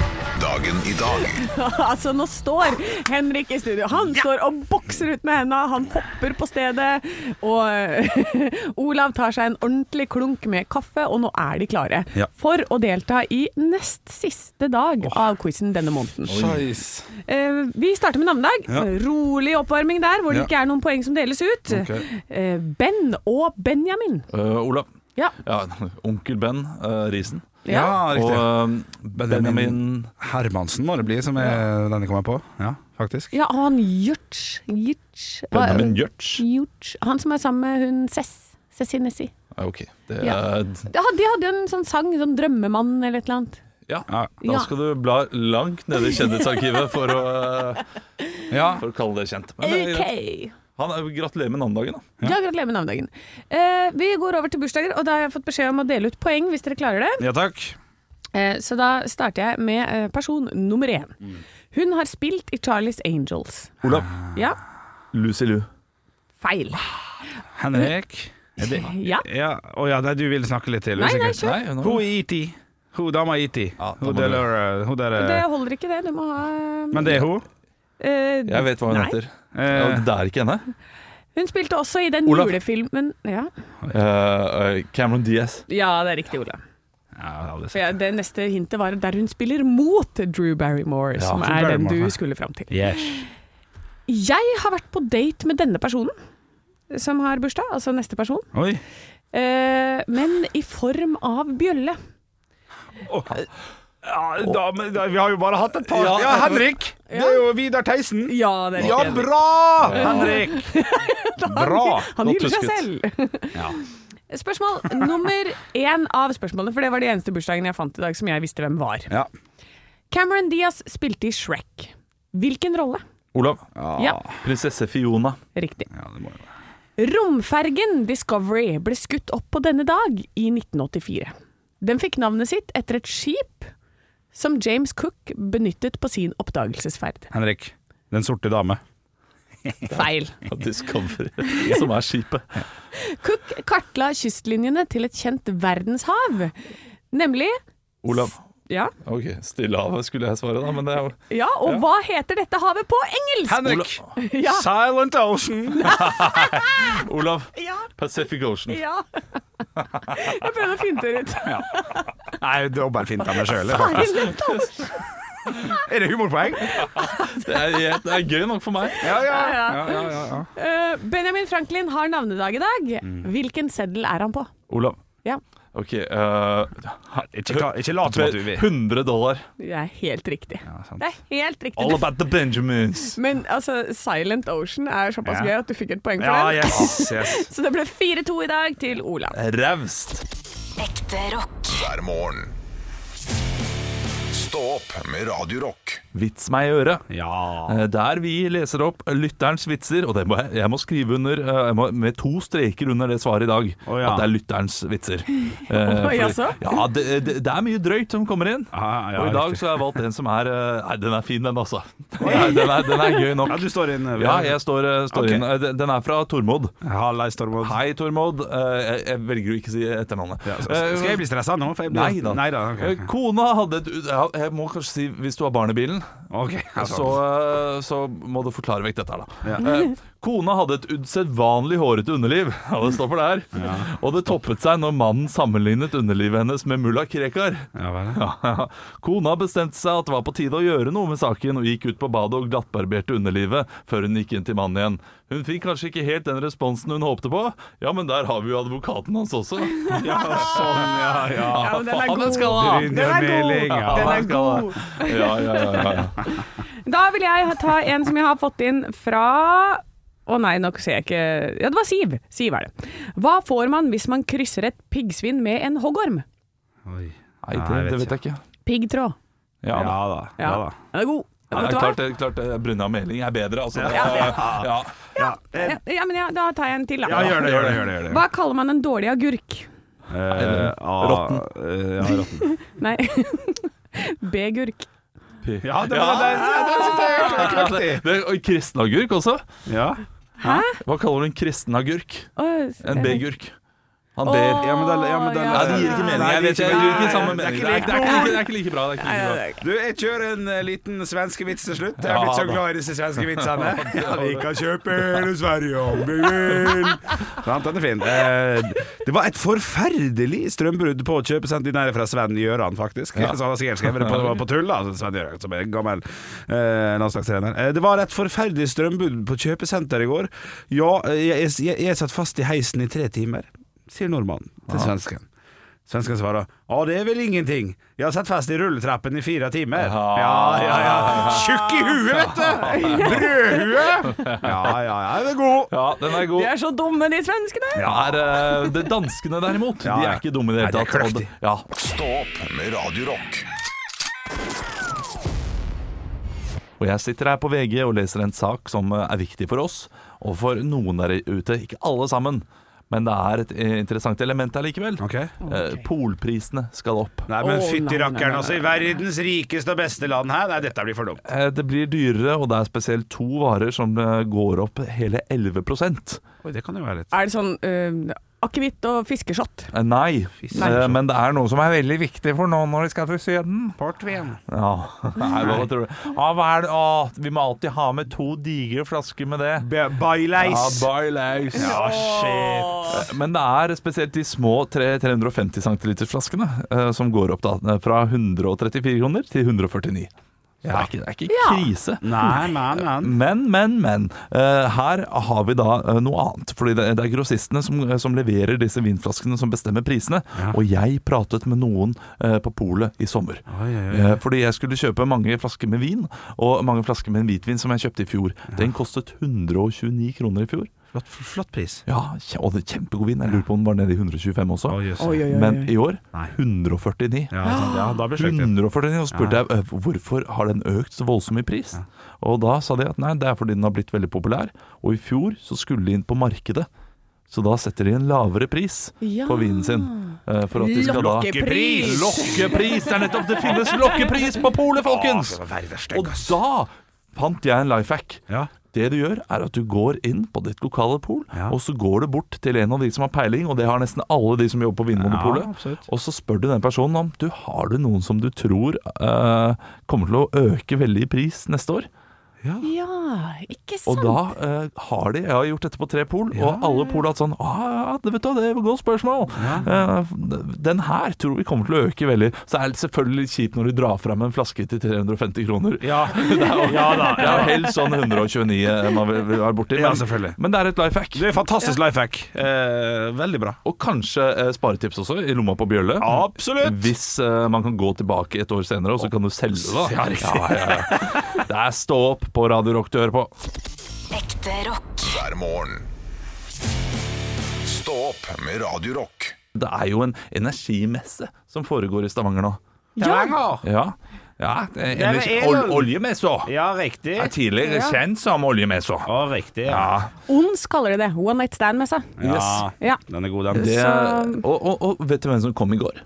[SPEAKER 2] Dagen i dag
[SPEAKER 5] altså, nå står Henrik i studio. Han står og bokser ut med henda, han hopper på stedet. Og Olav tar seg en ordentlig klunk med kaffe, og nå er de klare
[SPEAKER 4] Ja.
[SPEAKER 5] for å delta i nest siste dag av quizen denne måneden. Eh, vi starter med navnedag.
[SPEAKER 4] Ja.
[SPEAKER 5] Rolig oppvarming der, hvor det
[SPEAKER 4] Ja.
[SPEAKER 5] ikke er noen poeng som deles ut.
[SPEAKER 4] Ok.
[SPEAKER 5] Eh, ben og Benjamin.
[SPEAKER 3] Eh, Olav.
[SPEAKER 5] Ja.
[SPEAKER 3] Ja, onkel Ben eh, Risen.
[SPEAKER 5] Ja.
[SPEAKER 4] Ja, riktig.
[SPEAKER 3] Og eh, Benjamin
[SPEAKER 4] Hermansen må det bli, som er den jeg kommer på. Ja, faktisk.
[SPEAKER 5] Ja, han Gjørts. Gjørts. Hva-
[SPEAKER 3] Benjamin Gjørts.
[SPEAKER 5] Gjørts. Han som er sammen med hun Cess. Cessinessi.
[SPEAKER 3] Ja, OK. Det,
[SPEAKER 5] Ja. De hadde en sånn sang, sånn Drømmemann eller et eller annet.
[SPEAKER 3] ja.
[SPEAKER 4] Ja,
[SPEAKER 5] Ja.
[SPEAKER 3] Da skal du bla langt nede i kjendisarkivet for å, eh,
[SPEAKER 4] ja.
[SPEAKER 3] for å kalle det kjent. Men det er greit.
[SPEAKER 5] OK.
[SPEAKER 3] han er, gratulerer med navnedagen, da.
[SPEAKER 5] Ja, gratulerer med navnedagen. Eh, vi går over til bursdager, og da har jeg fått beskjed om å dele ut poeng hvis dere klarer det.
[SPEAKER 4] ja takk.
[SPEAKER 5] Eh, så da starter jeg med eh, person nummer én. Hun har spilt i Charlies Angels.
[SPEAKER 3] Olav.
[SPEAKER 5] Ja,
[SPEAKER 3] Lucy Lou.
[SPEAKER 5] feil.
[SPEAKER 4] Henrik. Er det
[SPEAKER 5] Ja.
[SPEAKER 4] Ja, å ja, nei, du vil snakke litt til?
[SPEAKER 5] Nei, nei,
[SPEAKER 4] sikkert.
[SPEAKER 5] kjør.
[SPEAKER 3] Nei, hun
[SPEAKER 4] Hun
[SPEAKER 3] har-
[SPEAKER 4] i E.T. Hun dama E i E.T.
[SPEAKER 3] Ja, da
[SPEAKER 4] Hun
[SPEAKER 3] må du-
[SPEAKER 4] der, hun der
[SPEAKER 5] Det holder ikke, det. Du må ha
[SPEAKER 4] eh, Men det er hun.
[SPEAKER 5] eh,
[SPEAKER 3] Jeg vet hva hun
[SPEAKER 5] Nei.
[SPEAKER 3] heter. Ja,
[SPEAKER 4] Eh,
[SPEAKER 3] det er ikke henne.
[SPEAKER 5] Hun spilte også i den
[SPEAKER 3] Olav.
[SPEAKER 5] julefilmen ja.
[SPEAKER 3] Eh, eh, Cameron Diaz.
[SPEAKER 5] ja, det er riktig, Olav.
[SPEAKER 4] ja, jeg har aldri
[SPEAKER 5] For jeg-
[SPEAKER 4] sett.
[SPEAKER 5] det neste hintet var der hun spiller mot Drew Barrymore, som
[SPEAKER 4] Drew
[SPEAKER 5] er den
[SPEAKER 4] Barrymore, ja.
[SPEAKER 5] du skulle fram til.
[SPEAKER 4] Yes.
[SPEAKER 5] Jeg har vært på date med denne personen som har bursdag, altså neste person,
[SPEAKER 4] Oi.
[SPEAKER 5] eh, men i form av bjølle.
[SPEAKER 4] Ja, da, men da, vi har jo bare hatt et par
[SPEAKER 3] Ja.
[SPEAKER 4] Ja, Henrik! Det er jo Vidar Theisen.
[SPEAKER 5] Ja, det er
[SPEAKER 4] Ja,
[SPEAKER 5] riktig.
[SPEAKER 4] bra, Henrik! Bra.
[SPEAKER 5] Han
[SPEAKER 3] Godt
[SPEAKER 5] hyller seg
[SPEAKER 3] husket.
[SPEAKER 5] selv. Spørsmål nummer én av spørsmålene, for det var de eneste bursdagene jeg fant i dag som jeg visste hvem var.
[SPEAKER 4] Ja.
[SPEAKER 5] Cameron Diaz spilte i Shrek. Hvilken rolle?
[SPEAKER 3] Olav.
[SPEAKER 4] Ah.
[SPEAKER 5] Ja,
[SPEAKER 3] Prinsesse Fiona.
[SPEAKER 5] riktig.
[SPEAKER 4] Ja, det må jo være.
[SPEAKER 5] Romfergen Discovery ble skutt opp på denne dag i 1984. Den fikk navnet sitt etter et skip som James Cook benyttet på sin oppdagelsesferd.
[SPEAKER 4] Henrik. Den sorte dame.
[SPEAKER 5] Feil.
[SPEAKER 3] Ja, Discovery, som er skipet.
[SPEAKER 5] Cook kartla kystlinjene til et kjent verdenshav, nemlig
[SPEAKER 3] Olav.
[SPEAKER 5] ja,
[SPEAKER 3] Ok, Stillehavet skulle jeg svare, da, men det er jo
[SPEAKER 5] ja, og hva heter dette havet på engelsk?
[SPEAKER 4] Henrik!
[SPEAKER 5] Ja.
[SPEAKER 4] Silent Ocean!
[SPEAKER 3] Olav.
[SPEAKER 5] Ja,
[SPEAKER 3] Pacific Ocean.
[SPEAKER 5] ja. Jeg prøvde å finte det ut.
[SPEAKER 4] Nei, dobbeltfint av meg sjøl.
[SPEAKER 5] Silent Ocean.
[SPEAKER 4] Er det humorpoeng?
[SPEAKER 3] Det er, det er gøy nok for meg.
[SPEAKER 4] Ja, ja. ja, ja, ja, ja.
[SPEAKER 5] Eh, Benjamin Franklin har navnedag i dag.
[SPEAKER 3] Mm.
[SPEAKER 5] Hvilken seddel er han på?
[SPEAKER 3] Olav.
[SPEAKER 5] Ja,
[SPEAKER 3] Ok. eh,
[SPEAKER 4] Ikke, ta- ikke lat som at du vil.
[SPEAKER 3] 100 dollar.
[SPEAKER 5] det er helt riktig.
[SPEAKER 4] Ja, sant.
[SPEAKER 5] Det er helt riktig.
[SPEAKER 3] All about the Benjamins.
[SPEAKER 5] Men altså, Silent Ocean er såpass
[SPEAKER 4] Ja.
[SPEAKER 5] gøy at du fikk et poeng for
[SPEAKER 4] Ja,
[SPEAKER 5] den.
[SPEAKER 4] yes, yes.
[SPEAKER 5] Så det ble 4-2 i dag til Olav.
[SPEAKER 3] Raust.
[SPEAKER 1] Ekte rock.
[SPEAKER 2] hver morgen. Stå opp med Radio Rock.
[SPEAKER 3] Vits meg i øret.
[SPEAKER 4] Ja.
[SPEAKER 3] Eh, Der vi leser opp lytterens vitser, og det må jeg, jeg må skrive under eh, jeg må, med to streker under det svaret i dag,
[SPEAKER 4] Å, ja.
[SPEAKER 3] at det er lytterens vitser. Eh, fordi-
[SPEAKER 5] Oi, altså?
[SPEAKER 3] ja, det, det, det er mye drøyt som kommer inn.
[SPEAKER 4] Ja, Ah, ja,
[SPEAKER 3] og i dag
[SPEAKER 4] riktig.
[SPEAKER 3] så har jeg valgt en som er eh, Nei, den er fin, den, altså. Nei, den, er, den er gøy nok.
[SPEAKER 4] ja, du står inne.
[SPEAKER 3] Ja, jeg står, eh, står
[SPEAKER 4] Ok.
[SPEAKER 3] inn. Eh, den- Den er fra Tormod.
[SPEAKER 4] Hallais, Tormod.
[SPEAKER 3] Hei, Tormod. Eh, Jeg, jeg velger å ikke si etternavnet.
[SPEAKER 4] Ja, så- skal jeg bli stressa nå? For jeg blir...
[SPEAKER 3] Nei da.
[SPEAKER 4] Eh, Nei da, ok.
[SPEAKER 3] Eh, Kona hadde et ja, Jeg må kanskje si hvis du har barn i bilen,
[SPEAKER 4] Ok, altså.
[SPEAKER 3] så, eh, så må du forklare vekk dette her, da.
[SPEAKER 4] Ja.
[SPEAKER 3] Eh, Kona hadde et usedvanlig hårete underliv, ja, det stopper der. Og det toppet seg når mannen sammenlignet underlivet hennes med mulla Krekar.
[SPEAKER 4] Ja, vel.
[SPEAKER 3] Ja. Kona bestemte seg at det var på tide å gjøre noe med saken, og gikk ut på badet og glattbarberte underlivet før hun gikk inn til mannen igjen. Hun fikk kanskje ikke helt den responsen hun håpte på. Ja, men der har vi jo advokaten hans også.
[SPEAKER 4] ja, sånn, ja, ja.
[SPEAKER 5] Ja, men den
[SPEAKER 3] faen,
[SPEAKER 5] er
[SPEAKER 3] Ah, den
[SPEAKER 5] god.
[SPEAKER 3] skal ha.
[SPEAKER 5] Den er god.
[SPEAKER 4] Gryndermeling, ja.
[SPEAKER 5] Den
[SPEAKER 3] han
[SPEAKER 5] er
[SPEAKER 3] skal ha.
[SPEAKER 5] god.
[SPEAKER 3] Ja, ja, ja, ja.
[SPEAKER 5] Da vil jeg ta en som jeg har fått inn fra å nei, nå ser jeg ikke Ja, det var Siv. Siv er det. Hva får man hvis man krysser et piggsvin med en hoggorm?
[SPEAKER 4] Oi.
[SPEAKER 3] Nei, det, det vet jeg ikke.
[SPEAKER 5] Piggtråd.
[SPEAKER 3] Ja,
[SPEAKER 4] Ja da. Ja, da.
[SPEAKER 5] Den er god.
[SPEAKER 3] Ja,
[SPEAKER 5] Vet du hva?
[SPEAKER 3] klart, det- klart det- Brunna Meling er bedre, altså.
[SPEAKER 4] Ja.
[SPEAKER 3] Ja, ja.
[SPEAKER 4] Ja, eh,
[SPEAKER 5] Ja, ja, men ja, da tar jeg en til, da.
[SPEAKER 4] ja, gjør det, gjør det. Gjør det, gjør det.
[SPEAKER 5] Hva kaller man en dårlig agurk?
[SPEAKER 4] Eh, ah,
[SPEAKER 3] Rotten.
[SPEAKER 4] eh, Ja, rotten.
[SPEAKER 5] Nei B-gurk.
[SPEAKER 4] Ja, det var det. Det syns jeg er kløktig.
[SPEAKER 3] Det, og kristenagurk også.
[SPEAKER 4] Ja.
[SPEAKER 3] Hva kaller du en kristenagurk? En B-gurk. Han ber.
[SPEAKER 5] Åh.
[SPEAKER 4] Ja, men det, ja, men det,
[SPEAKER 3] Nei, det gir ikke mening.
[SPEAKER 4] Nei,
[SPEAKER 3] Jeg
[SPEAKER 4] det
[SPEAKER 3] vet
[SPEAKER 4] gir
[SPEAKER 3] jeg
[SPEAKER 4] ikke
[SPEAKER 3] gir ikke
[SPEAKER 4] mening.
[SPEAKER 3] samme
[SPEAKER 4] Det er
[SPEAKER 3] mening.
[SPEAKER 4] ikke
[SPEAKER 3] Det er ikke- det er
[SPEAKER 4] like
[SPEAKER 3] ikke- det er ikke like bra. Det er ikke like bra.
[SPEAKER 4] Du, jeg kjører en eh, liten svenske vits til slutt.
[SPEAKER 3] Ja,
[SPEAKER 4] Jeg er blitt så
[SPEAKER 3] da.
[SPEAKER 4] glad i disse svenske vitsene. Ja, vi kan kjøpe hele Sverige om vi vil. Sant, den er fin. Eh, Det var et forferdelig strømbrudd på kjøpesenteret nære fra Sven Gjøran, faktisk. Så han har sikkert skrevet det på, på tull, da. så Sven Gjøran, som er en gammel eh, landslagstrener. Eh, det var et forferdelig strømbrudd på kjøpesenteret i går. Ja, eh, jeg, jeg, jeg satt fast i heisen i tre timer, sier nordmannen til svensken. Svensken svarer Ja, det er vel ingenting. Jeg har satt fast i rulletrappen i fire timer.
[SPEAKER 3] Ja.
[SPEAKER 4] Ja, ja, ja. Tjukk i huet, vet du! Brødhue! Ja, ja, ja. Den er god.
[SPEAKER 3] Ja, den er god.
[SPEAKER 5] De er så dumme, de svenskene!
[SPEAKER 3] Ja, er, eh, det danskene derimot,
[SPEAKER 4] Ja,
[SPEAKER 3] de
[SPEAKER 4] ja.
[SPEAKER 3] er ikke dumme i det hele
[SPEAKER 4] Nei, det er
[SPEAKER 3] tatt. Og
[SPEAKER 4] kløktig.
[SPEAKER 3] Ja.
[SPEAKER 2] Stå opp med Radio Rock.
[SPEAKER 3] Og jeg sitter her på VG og leser en sak som eh, er viktig for oss, og for noen der ute. Ikke alle sammen, men det er et eh, interessant element her likevel.
[SPEAKER 4] Ok.
[SPEAKER 3] Eh, Polprisene skal opp.
[SPEAKER 4] Nei, men
[SPEAKER 5] Å,
[SPEAKER 4] fytti
[SPEAKER 5] nei, nei,
[SPEAKER 4] rakkeren,
[SPEAKER 5] nei.
[SPEAKER 4] altså. I verdens rikeste og beste land her. Nei, dette blir for dumt.
[SPEAKER 3] Eh, Det blir dyrere, og det er spesielt to varer som eh, går opp hele 11 Eh,
[SPEAKER 4] Oi, det kan jo være litt
[SPEAKER 5] Er det sånn eh, akevitt og fiskeshot?
[SPEAKER 3] Nei,
[SPEAKER 4] Nei.
[SPEAKER 3] Eh, men det er noe som er veldig viktig for nå når de skal til Syden.
[SPEAKER 4] Portvin.
[SPEAKER 3] Ja, Nei, hva tror du? Ja, hva er det? Å, vi må alltid ha med to digre flasker med det. Ja,
[SPEAKER 4] Byleis.
[SPEAKER 3] baileys.
[SPEAKER 4] Ja, shit.
[SPEAKER 3] Men det er spesielt de små tre- 350 cm-flaskene eh, som går opp da, eh, fra 134 kroner til 149. Det er ikke, det er ikke
[SPEAKER 5] Ja.
[SPEAKER 3] krise.
[SPEAKER 4] Nei, men, men.
[SPEAKER 3] Men, men, men. eh, her har vi da eh, noe annet. Fordi det, det er grossistene som, eh, som leverer disse vinflaskene som bestemmer prisene. Og jeg pratet med noen eh, på polet i sommer. Eh, fordi jeg skulle kjøpe mange flasker med vin, og mange flasker med en hvitvin som jeg kjøpte i fjor. Den kostet 129 kroner i fjor.
[SPEAKER 4] Flott, flott pris.
[SPEAKER 3] Ja, kje- og det er kjempegod vin. Jeg lurer på om den var nede i 125 også.
[SPEAKER 4] Å, jøss.
[SPEAKER 3] Men i år
[SPEAKER 4] Nei.
[SPEAKER 3] 149.
[SPEAKER 4] Ja, sant, ja, da blir det slekt.
[SPEAKER 3] 149, og spurte jeg «Øh, hvorfor har den økt så voldsomt i pris. Og da sa de at nei, det er fordi den har blitt veldig populær. Og i fjor så skulle de inn på markedet, så da setter de en lavere pris
[SPEAKER 5] Ja.
[SPEAKER 3] på vinen sin. eh, For at de skal da
[SPEAKER 5] Lokkepris.
[SPEAKER 3] Lokkepris! Det er nettopp det finnes lokkepris på polet, folkens!
[SPEAKER 4] Å, verden er stygg,
[SPEAKER 3] Og
[SPEAKER 4] ass.
[SPEAKER 3] da fant jeg en life hack.
[SPEAKER 4] Ja.
[SPEAKER 3] Det du gjør, er at du går inn på ditt lokale pol,
[SPEAKER 4] Ja.
[SPEAKER 3] og så går du bort til en av de som har peiling, og det har nesten alle de som jobber på
[SPEAKER 4] Ja,
[SPEAKER 3] Vinmonopolet.
[SPEAKER 4] absolutt.
[SPEAKER 3] og så spør du den personen om du har du noen som du tror eh, kommer til å øke veldig i pris neste år.
[SPEAKER 5] Ja, ikke
[SPEAKER 3] Og
[SPEAKER 5] sant?
[SPEAKER 3] da eh, har de Jeg har gjort dette på tre pol, og alle pol har hatt sånn ah, ja, det vet du, det er et godt spørsmål. Eh, den her tror vi kommer til å øke veldig. Så er det selvfølgelig litt kjipt når du drar fram en flaske til 350 kroner.
[SPEAKER 4] Ja. ja da.
[SPEAKER 3] Det er jo helst sånn 129 man vil, vil være borti.
[SPEAKER 4] Ja,
[SPEAKER 3] men-
[SPEAKER 4] selvfølgelig.
[SPEAKER 3] Men det er et life hack.
[SPEAKER 4] Det er fantastisk life hack. Eh, veldig bra.
[SPEAKER 3] Og kanskje eh, sparetips også, i lomma på Bjølle.
[SPEAKER 4] Absolutt.
[SPEAKER 3] Hvis eh, man kan gå tilbake et år senere, og så kan du selge det. da. Ja, ja, ja. Det er stå opp på Radio Rock du hører på.
[SPEAKER 1] Ekte rock.
[SPEAKER 2] hver morgen. Stå opp med Radio Rock.
[SPEAKER 3] Det er jo en energimesse som foregår i Stavanger nå.
[SPEAKER 5] Ja.
[SPEAKER 4] Stavanger.
[SPEAKER 3] Ja. Ja, det er
[SPEAKER 4] Nei,
[SPEAKER 3] en
[SPEAKER 4] men
[SPEAKER 3] ikke-
[SPEAKER 4] er det-
[SPEAKER 3] ol- oljemessa.
[SPEAKER 4] Ja, riktig.
[SPEAKER 3] Er tidligere kjent som oljemessa.
[SPEAKER 4] Ja, riktig. Ja.
[SPEAKER 3] Ja,
[SPEAKER 5] Ons kaller de det. One night stand-messa.
[SPEAKER 4] ja.
[SPEAKER 5] Ja.
[SPEAKER 4] Den er god, den.
[SPEAKER 3] det,
[SPEAKER 5] Så-
[SPEAKER 3] og, og, og vet du hvem som kom i går?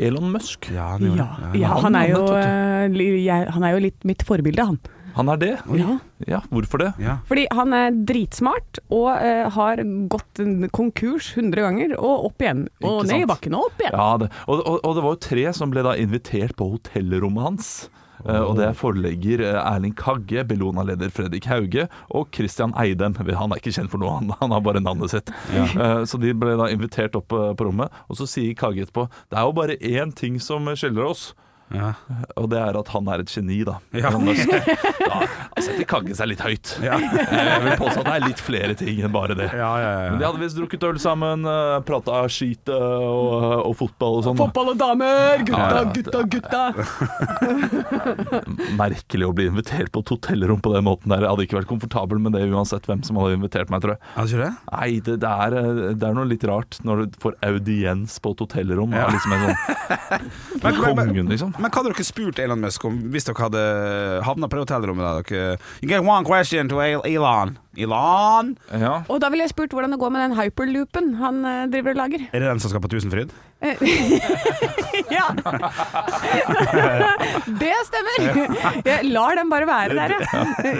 [SPEAKER 3] Elon Musk.
[SPEAKER 4] Ja, den gjør
[SPEAKER 5] Ja,
[SPEAKER 4] det.
[SPEAKER 5] ja han, er jo,
[SPEAKER 3] Han er
[SPEAKER 5] eh, li- jeg, han er jo litt mitt forbilde, han.
[SPEAKER 3] Han er det?
[SPEAKER 5] Ja.
[SPEAKER 3] Ja, hvorfor det?
[SPEAKER 4] Ja.
[SPEAKER 5] Fordi han er dritsmart og eh, har gått en konkurs 100 ganger, og opp igjen. Og
[SPEAKER 3] Ikke
[SPEAKER 5] ned i
[SPEAKER 3] sant?
[SPEAKER 5] bakken, og opp igjen.
[SPEAKER 3] Ja, det, og, og, og det var jo tre som ble da invitert på hotellrommet hans. Eh, Og det er forlegger eh, Erling Kagge, Bellona-leder Fredrik Hauge og Christian Eidem. Han er ikke kjent for noe, han, han har bare navnet sitt. Eh, Så de ble da invitert opp eh, på rommet, og så sier Kagge etterpå Det er jo bare én ting som skiller oss.
[SPEAKER 4] Ja.
[SPEAKER 3] Og det er at han er et geni, da.
[SPEAKER 4] Ja.
[SPEAKER 3] Elon Musk. Da setter Kagge seg litt høyt. Eh, Jeg vil påstå at det er litt flere ting enn bare det.
[SPEAKER 4] Ja, ja, ja.
[SPEAKER 3] Men de hadde visst drukket øl sammen, prata skit eh, og, og fotball og sånn.
[SPEAKER 5] Fotball og damer! Gutta,
[SPEAKER 3] Ja, ja.
[SPEAKER 5] gutta, gutta!
[SPEAKER 3] Merkelig å bli invitert på et hotellrom på den måten der. Jeg hadde ikke vært komfortabel med det uansett hvem som hadde invitert meg, tror jeg.
[SPEAKER 4] Er det ikke det?
[SPEAKER 3] Nei, det, det, er, eh, det er noe litt rart når du får audiens på et hotellrom. Ja. Liksom en sånn Kongen, liksom.
[SPEAKER 4] Men hva hadde dere spurt Elon Musk om hvis dere hadde havna på det hotellrommet? der dere You get one question to El- Elon. Elon?
[SPEAKER 3] Ja.
[SPEAKER 5] Og da ville jeg spurt hvordan det går med den hyperloopen han eh, driver og lager.
[SPEAKER 4] Er det den som skal på Tusenfryd?
[SPEAKER 5] Eh, Ja! det stemmer! Jeg lar den bare være der, jeg.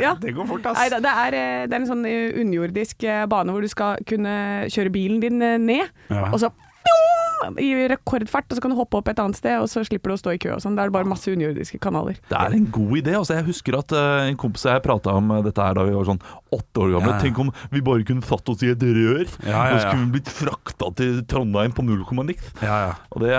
[SPEAKER 5] Ja.
[SPEAKER 4] Det går fort,
[SPEAKER 5] Nei, da, det, er, eh, det er en sånn eh, underjordisk eh, bane hvor du skal kunne kjøre bilen din eh, ned,
[SPEAKER 4] Ja.
[SPEAKER 5] og så pjong, i rekordfart, og så kan du hoppe opp et annet sted, og så slipper du å stå i kø og sånn. Da er det bare masse underjordiske kanaler.
[SPEAKER 3] Det er en god idé. Altså, jeg husker at eh, en kompis og jeg prata om eh, dette her da vi var sånn åtte år gamle.
[SPEAKER 4] Ja.
[SPEAKER 3] Tenk om vi bare kunne satt oss i et rør,
[SPEAKER 4] Ja, ja,
[SPEAKER 3] og så
[SPEAKER 4] ja.
[SPEAKER 3] kunne vi blitt frakta til Trondheim på null komma niks.
[SPEAKER 4] Ja, ja.
[SPEAKER 3] Og det,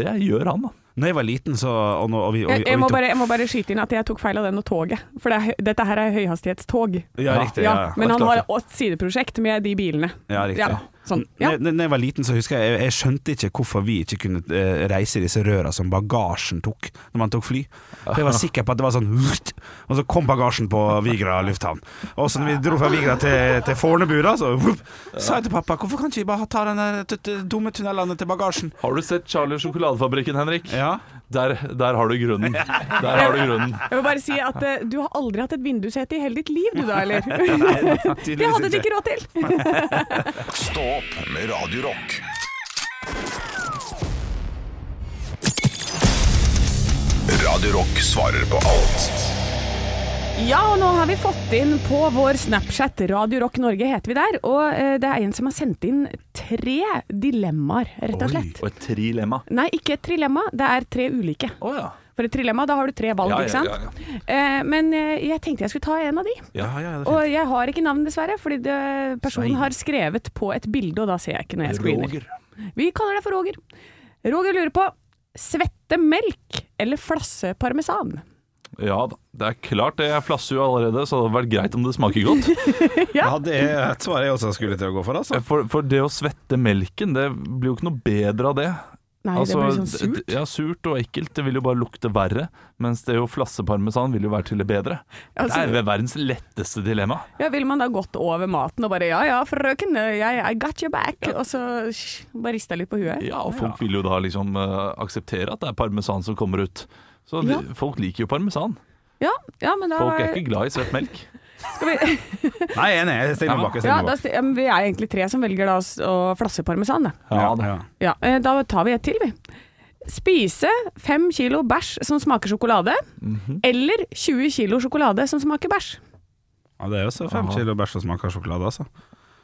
[SPEAKER 3] det gjør han, da.
[SPEAKER 4] Når jeg var liten, så og nå, og vi, og,
[SPEAKER 5] Jeg,
[SPEAKER 4] og,
[SPEAKER 5] jeg, må bare, jeg må bare skyte inn at jeg tok feil av den og toget, for det er, hø- dette her er høyhastighetstog.
[SPEAKER 4] Ja, riktig.
[SPEAKER 5] Ja,
[SPEAKER 4] Ja, ja.
[SPEAKER 5] men
[SPEAKER 3] det er
[SPEAKER 5] han har
[SPEAKER 3] klart
[SPEAKER 5] et sideprosjekt med de bilene.
[SPEAKER 4] Ja, riktig.
[SPEAKER 5] sånn. ja.
[SPEAKER 4] Når- Når jeg var liten, så husker jeg, jeg Jeg skjønte ikke hvorfor vi ikke kunne eh, reise i disse røra som bagasjen tok når man tok fly. For jeg var sikker på at det var sånn «Hurt!» Og så kom bagasjen på Vigra lufthavn. Og så når vi dro fra Vigra til, til Fornebu, da, så «Vup!» sa jeg til pappa Hvorfor kan ikke vi bare ta den der t- t- dumme tunnelene til bagasjen?
[SPEAKER 3] Har du sett Charlie og sjokoladefabrikken, Henrik?
[SPEAKER 4] Ja.
[SPEAKER 3] Der, der har du grunnen. Der har du grunnen.
[SPEAKER 5] Jeg vil bare si at eh, du har aldri hatt et vindussete i hele ditt liv, du da, eller? det hadde du ikke råd til.
[SPEAKER 2] Stå opp med Radio Rock. Radio Rock svarer på alt.
[SPEAKER 5] Ja, og nå har vi fått inn på vår Snapchat, Radio Rock Norge heter vi der, og eh, det er en som har sendt inn tre dilemmaer, rett og slett.
[SPEAKER 3] Og et trilemma.
[SPEAKER 5] Nei, ikke et trilemma, det er tre ulike.
[SPEAKER 3] Å ja.
[SPEAKER 5] For et trilemma, da har du tre valg,
[SPEAKER 3] Ja, ja,
[SPEAKER 5] ikke sant? Eh, men eh, jeg tenkte jeg skulle ta en av de.
[SPEAKER 4] Ja, ja, ja, det er
[SPEAKER 5] Og
[SPEAKER 4] fint.
[SPEAKER 5] jeg har ikke navn, dessverre, fordi det, personen har skrevet på et bilde, og da ser jeg ikke når jeg screener.
[SPEAKER 3] Roger.
[SPEAKER 5] Vi kaller det for Roger. Roger lurer på svette melk eller flasse parmesan?
[SPEAKER 3] Ja da. Det er klart det. Jeg flasser jo allerede, så det hadde vært greit om det smaker godt.
[SPEAKER 4] ja, det er et svar jeg også skulle til å gå for, altså.
[SPEAKER 3] For, for det å svette melken, det blir jo ikke noe bedre av det.
[SPEAKER 5] Nei,
[SPEAKER 3] Altså,
[SPEAKER 5] det blir sånn
[SPEAKER 3] d-
[SPEAKER 5] surt.
[SPEAKER 3] d- Ja, surt og ekkelt. Det vil jo bare lukte verre. Mens det å flasse parmesan vil jo være til det bedre.
[SPEAKER 5] Altså-
[SPEAKER 3] det er vel verdens letteste dilemma.
[SPEAKER 5] Ja, Ville man da gått over maten og bare 'ja ja, frøken, jeg, I got your back', og så sh, bare rista litt på huet?
[SPEAKER 3] Ja, og folk vil jo da liksom eh, akseptere at det er parmesan som kommer ut. Så de,
[SPEAKER 5] Ja.
[SPEAKER 3] folk liker jo parmesan.
[SPEAKER 5] Ja, ja men da
[SPEAKER 3] Folk er ikke glad i svett melk.
[SPEAKER 5] skal vi,
[SPEAKER 4] Nei, jeg er enig. Jeg stiller meg bak.
[SPEAKER 5] ja,
[SPEAKER 4] Jeg stiller meg
[SPEAKER 5] da,
[SPEAKER 4] bak.
[SPEAKER 5] sti- ja, men Vi er egentlig tre som velger da å s- å flasse parmesan. Da.
[SPEAKER 3] Ja, det-
[SPEAKER 4] ja.
[SPEAKER 5] Ja, eh, da tar vi et til, vi. Spise fem kilo bæsj som smaker sjokolade,
[SPEAKER 3] Mhm.
[SPEAKER 5] eller 20 kilo sjokolade som smaker bæsj.
[SPEAKER 4] Ja, det er jo så fem kilo bæsj som smaker sjokolade, altså.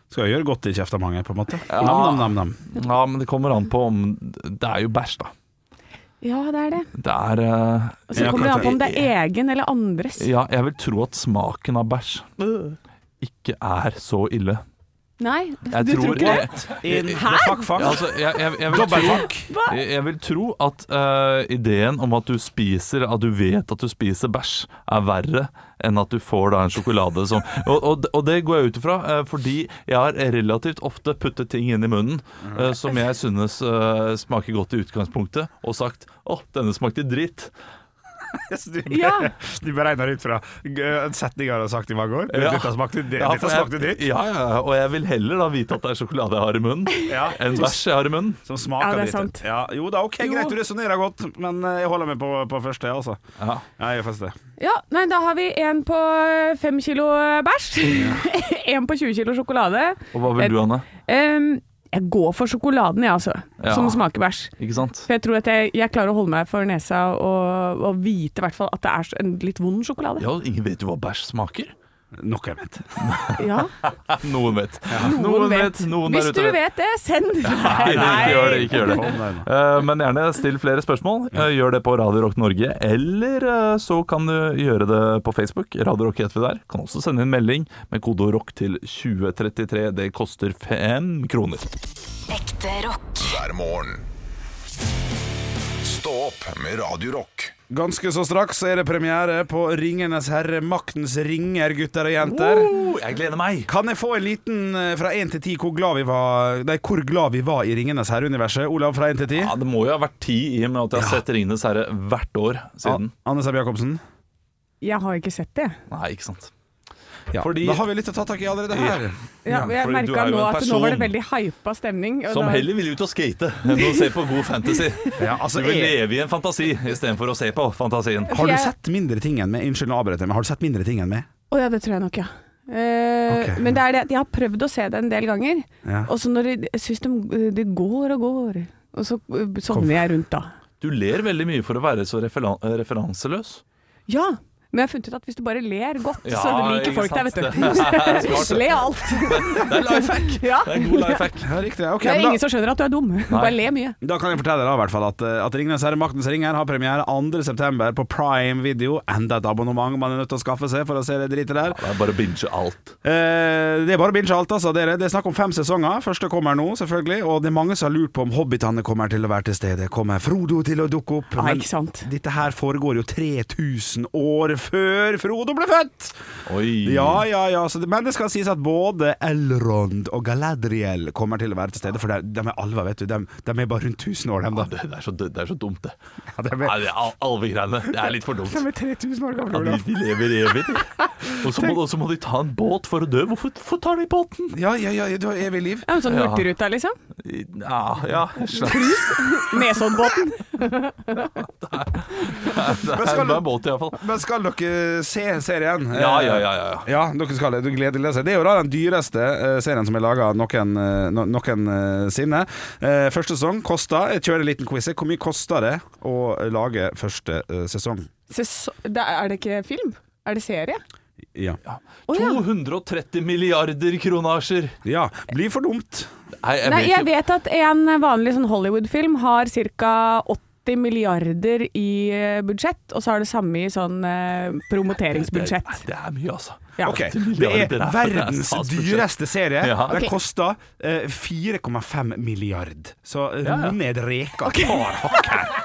[SPEAKER 4] Skal jo gjøre godt i kjefta mange, på en måte. Nam, nam, nam, nam.
[SPEAKER 3] ja, men det kommer an på om Det er jo bæsj, da.
[SPEAKER 5] Ja, det er det.
[SPEAKER 3] Det er eh,
[SPEAKER 5] Og så
[SPEAKER 4] Ja,
[SPEAKER 5] kommer det an på
[SPEAKER 4] kanskje.
[SPEAKER 5] om det er egen eller andres.
[SPEAKER 3] Ja, jeg vil tro at smaken av bæsj
[SPEAKER 5] Øh.
[SPEAKER 3] ikke er så ille.
[SPEAKER 5] Nei,
[SPEAKER 3] Jeg
[SPEAKER 5] du tror, ikke det?
[SPEAKER 4] In,
[SPEAKER 5] Hæ?
[SPEAKER 4] Fuck, fuck.
[SPEAKER 3] Ja, altså, jeg, jeg, jeg, vil tro,
[SPEAKER 4] Dobbeltfuck.
[SPEAKER 3] jeg, jeg vil tro at eh, ideen om at du spiser At du vet at du spiser bæsj, er verre enn at du får da en sjokolade som Og, og, og det går jeg ut ifra, eh, fordi jeg har relativt ofte puttet ting inn i munnen eh, som jeg synes eh, smaker godt i utgangspunktet, og sagt 'Å, denne smakte dritt'.
[SPEAKER 4] Så Du,
[SPEAKER 5] Ja.
[SPEAKER 4] du beregner ut fra eh, setninger du har sagt i mange år.
[SPEAKER 3] Ja.
[SPEAKER 4] Dette smakte dritt.
[SPEAKER 3] Ja, for
[SPEAKER 4] dette
[SPEAKER 3] jeg-
[SPEAKER 4] smakte dritt.
[SPEAKER 3] Ja, ja, ja, og jeg vil heller da vite at det er sjokolade jeg har i munnen,
[SPEAKER 4] Ja.
[SPEAKER 3] enn bæsj jeg har i munnen.
[SPEAKER 4] Som smaker
[SPEAKER 5] Ja, det er
[SPEAKER 4] dritt.
[SPEAKER 5] sant.
[SPEAKER 4] Ja, jo da, ok,
[SPEAKER 5] Jo.
[SPEAKER 4] greit, du resonnerer godt, men eh, jeg holder meg på, på første, altså.
[SPEAKER 3] Ja.
[SPEAKER 4] Ja, jeg gjør faktisk det.
[SPEAKER 5] Ja, nei, da har vi en på fem kilo bæsj. En på 20 kilo sjokolade.
[SPEAKER 3] Og hva vil du, Anne?
[SPEAKER 5] Ehm, jeg går for sjokoladen, jeg, altså.
[SPEAKER 3] Ja.
[SPEAKER 5] Som smaker bæsj.
[SPEAKER 3] Ikke sant?
[SPEAKER 5] For jeg tror at jeg, jeg klarer å holde meg for nesa og, og vite i hvert fall at det er en litt vond sjokolade.
[SPEAKER 3] Ja, og ingen vet jo hva bæsj smaker.
[SPEAKER 4] Noe jeg mente.
[SPEAKER 5] Ja,
[SPEAKER 3] Noen vet.
[SPEAKER 5] noen, vet.
[SPEAKER 3] noen der
[SPEAKER 5] Hvis
[SPEAKER 3] ute
[SPEAKER 5] du vet det, send! Nei,
[SPEAKER 3] Nei, ikke gjør det. ikke gjør det
[SPEAKER 4] Kom deg nå.
[SPEAKER 3] Eh, Men gjerne still flere spørsmål. Eh, Gjør det på Radio Rock Norge, eller eh, så kan du gjøre det på Facebook. Radio Rock heter vi der. Kan også sende en melding med kode ROCK til 2033. Det koster fem kroner.
[SPEAKER 1] Ekte rock.
[SPEAKER 2] hver morgen. Stå opp med Radio Rock.
[SPEAKER 4] Ganske så straks er det premiere på Ringenes herre, maktens ringer, gutter og jenter.
[SPEAKER 3] jeg gleder meg!
[SPEAKER 4] Kan jeg få en liten eh, fra 1 til 10 hvor glad vi var, nei, hvor glad vi var i Ringenes herre-universet? Olav fra 1 til 10?
[SPEAKER 3] Ja, Det må jo ha vært ti i og med at jeg har sett Ringenes herre hvert år siden.
[SPEAKER 4] A- Anne Seb Jacobsen?
[SPEAKER 5] Jeg har ikke sett det.
[SPEAKER 3] Nei, ikke sant.
[SPEAKER 4] Ja.
[SPEAKER 3] Fordi-
[SPEAKER 4] da har vi litt å ta tak i allerede her.
[SPEAKER 5] Ja, jeg
[SPEAKER 3] fordi du er
[SPEAKER 5] merka
[SPEAKER 3] jo
[SPEAKER 5] nå
[SPEAKER 3] en
[SPEAKER 5] at nå var det
[SPEAKER 3] person
[SPEAKER 5] veldig hypa stemning. og
[SPEAKER 3] Som
[SPEAKER 5] da-
[SPEAKER 3] heller vil ut og skate enn å se på god fantasy.
[SPEAKER 4] Ja, altså,
[SPEAKER 3] Du vil
[SPEAKER 4] jeg-
[SPEAKER 3] leve i en fantasi istedenfor å se på fantasien.
[SPEAKER 4] Har du
[SPEAKER 5] jeg-
[SPEAKER 4] sett mindre ting enn meg? Unnskyld, nå avbryter jeg, men har du sett mindre ting enn meg?
[SPEAKER 5] Å ja, det tror jeg nok, ja. Eh,
[SPEAKER 4] Ok.
[SPEAKER 5] Men det er det at jeg har prøvd å se det en del ganger.
[SPEAKER 4] Ja.
[SPEAKER 5] Og så når jeg- jeg syns de, de går og går, og så eh, sovner jeg rundt da.
[SPEAKER 3] Du ler veldig mye for å være så referan- referanseløs.
[SPEAKER 5] Ja, men jeg har funnet ut at hvis du bare ler godt,
[SPEAKER 3] Ja,
[SPEAKER 5] så liker
[SPEAKER 3] ikke
[SPEAKER 5] folk deg,
[SPEAKER 3] sant.
[SPEAKER 5] vet du.
[SPEAKER 3] Det er smart.
[SPEAKER 5] Le av alt.
[SPEAKER 3] Det er life hack.
[SPEAKER 5] Ja.
[SPEAKER 3] Det er en god life hack.
[SPEAKER 4] Ja, riktig. Ok,
[SPEAKER 5] Det er
[SPEAKER 4] men da-
[SPEAKER 5] ingen som skjønner at du er dum. Bare le mye.
[SPEAKER 4] Da kan jeg fortelle deg da, i hvert fall at, eh, at Ringnes herre, Maktens ringer har premiere 2. september på Prime Video. Enda et abonnement man er nødt til å skaffe seg for å se det dritet der.
[SPEAKER 3] Det er bare å binge alt.
[SPEAKER 4] Eh, det er bare å binge alt, altså. Dere. Det er snakk om fem sesonger. Første kommer nå, selvfølgelig. Og det er mange som har lurt på om hobbitene kommer til å være til stede. Kommer Frodo til å dukke opp?
[SPEAKER 5] Nei,
[SPEAKER 4] Men
[SPEAKER 5] ikke sant.
[SPEAKER 4] Dette her foregår jo 3000 år før Frodo ble født!
[SPEAKER 3] Oi.
[SPEAKER 4] Ja, ja, ja. Så det, men det skal sies at både Elrond og Galadriel kommer til å være til stede. For de, de er alver, vet du. De, de er bare rundt 1000 år, dem, da.
[SPEAKER 3] Det, det, er så, det er så dumt, det.
[SPEAKER 4] Ja, de er-
[SPEAKER 3] Nei, det er al- Alvegreiene. Det er litt for dumt.
[SPEAKER 4] er 3000 år
[SPEAKER 3] Ja, de, de lever evig. de. Og så må, og så må de ta en båt for å dø. Hvorfor, hvorfor tar de båten?
[SPEAKER 4] Ja, ja, ja, du har evig liv.
[SPEAKER 5] Ja, men sånn
[SPEAKER 3] Ja.
[SPEAKER 5] Hurtigruta, liksom.
[SPEAKER 3] Ja, ja slags.
[SPEAKER 5] Nesoddenbåten.
[SPEAKER 3] Det
[SPEAKER 4] Men
[SPEAKER 3] er bare
[SPEAKER 4] skal du-
[SPEAKER 3] en båt, iallfall.
[SPEAKER 4] Men skal dere eh, se serien? Eh,
[SPEAKER 3] Ja, ja, ja, ja, ja.
[SPEAKER 4] Ja, dere skal det. Du gleder dere seg. Det er jo da den dyreste eh, serien som er laga noen, eh, no, noensinne. Eh, første sesong kosta Jeg kjører en liten quiz. Hvor mye kosta det å lage første eh, sesong?
[SPEAKER 5] Ses- da Er det ikke film? Er det serie?
[SPEAKER 4] Ja.
[SPEAKER 5] Å ja.
[SPEAKER 3] 230 milliarder kronasjer.
[SPEAKER 4] ja. Blir for dumt.
[SPEAKER 3] Nei, jeg
[SPEAKER 5] Nei,
[SPEAKER 3] vet
[SPEAKER 5] jeg
[SPEAKER 3] jo
[SPEAKER 5] vet at en vanlig sånn Hollywood-film har ca. 80 milliarder i eh, budsjett, og så har det samme i sånn eh, promoteringsbudsjett.
[SPEAKER 3] Nei, Det er mye, altså.
[SPEAKER 5] Ja.
[SPEAKER 4] Ok,
[SPEAKER 3] 80
[SPEAKER 4] Det
[SPEAKER 3] milliarder
[SPEAKER 4] er
[SPEAKER 3] er-
[SPEAKER 4] verdens
[SPEAKER 3] det er statsbudsjett.
[SPEAKER 4] dyreste serie.
[SPEAKER 3] Ja.
[SPEAKER 4] Den
[SPEAKER 5] Ok.
[SPEAKER 4] kosta eh, 4,5 milliard. Så eh,
[SPEAKER 3] ja.
[SPEAKER 4] ro ned reka. Tar hakk her.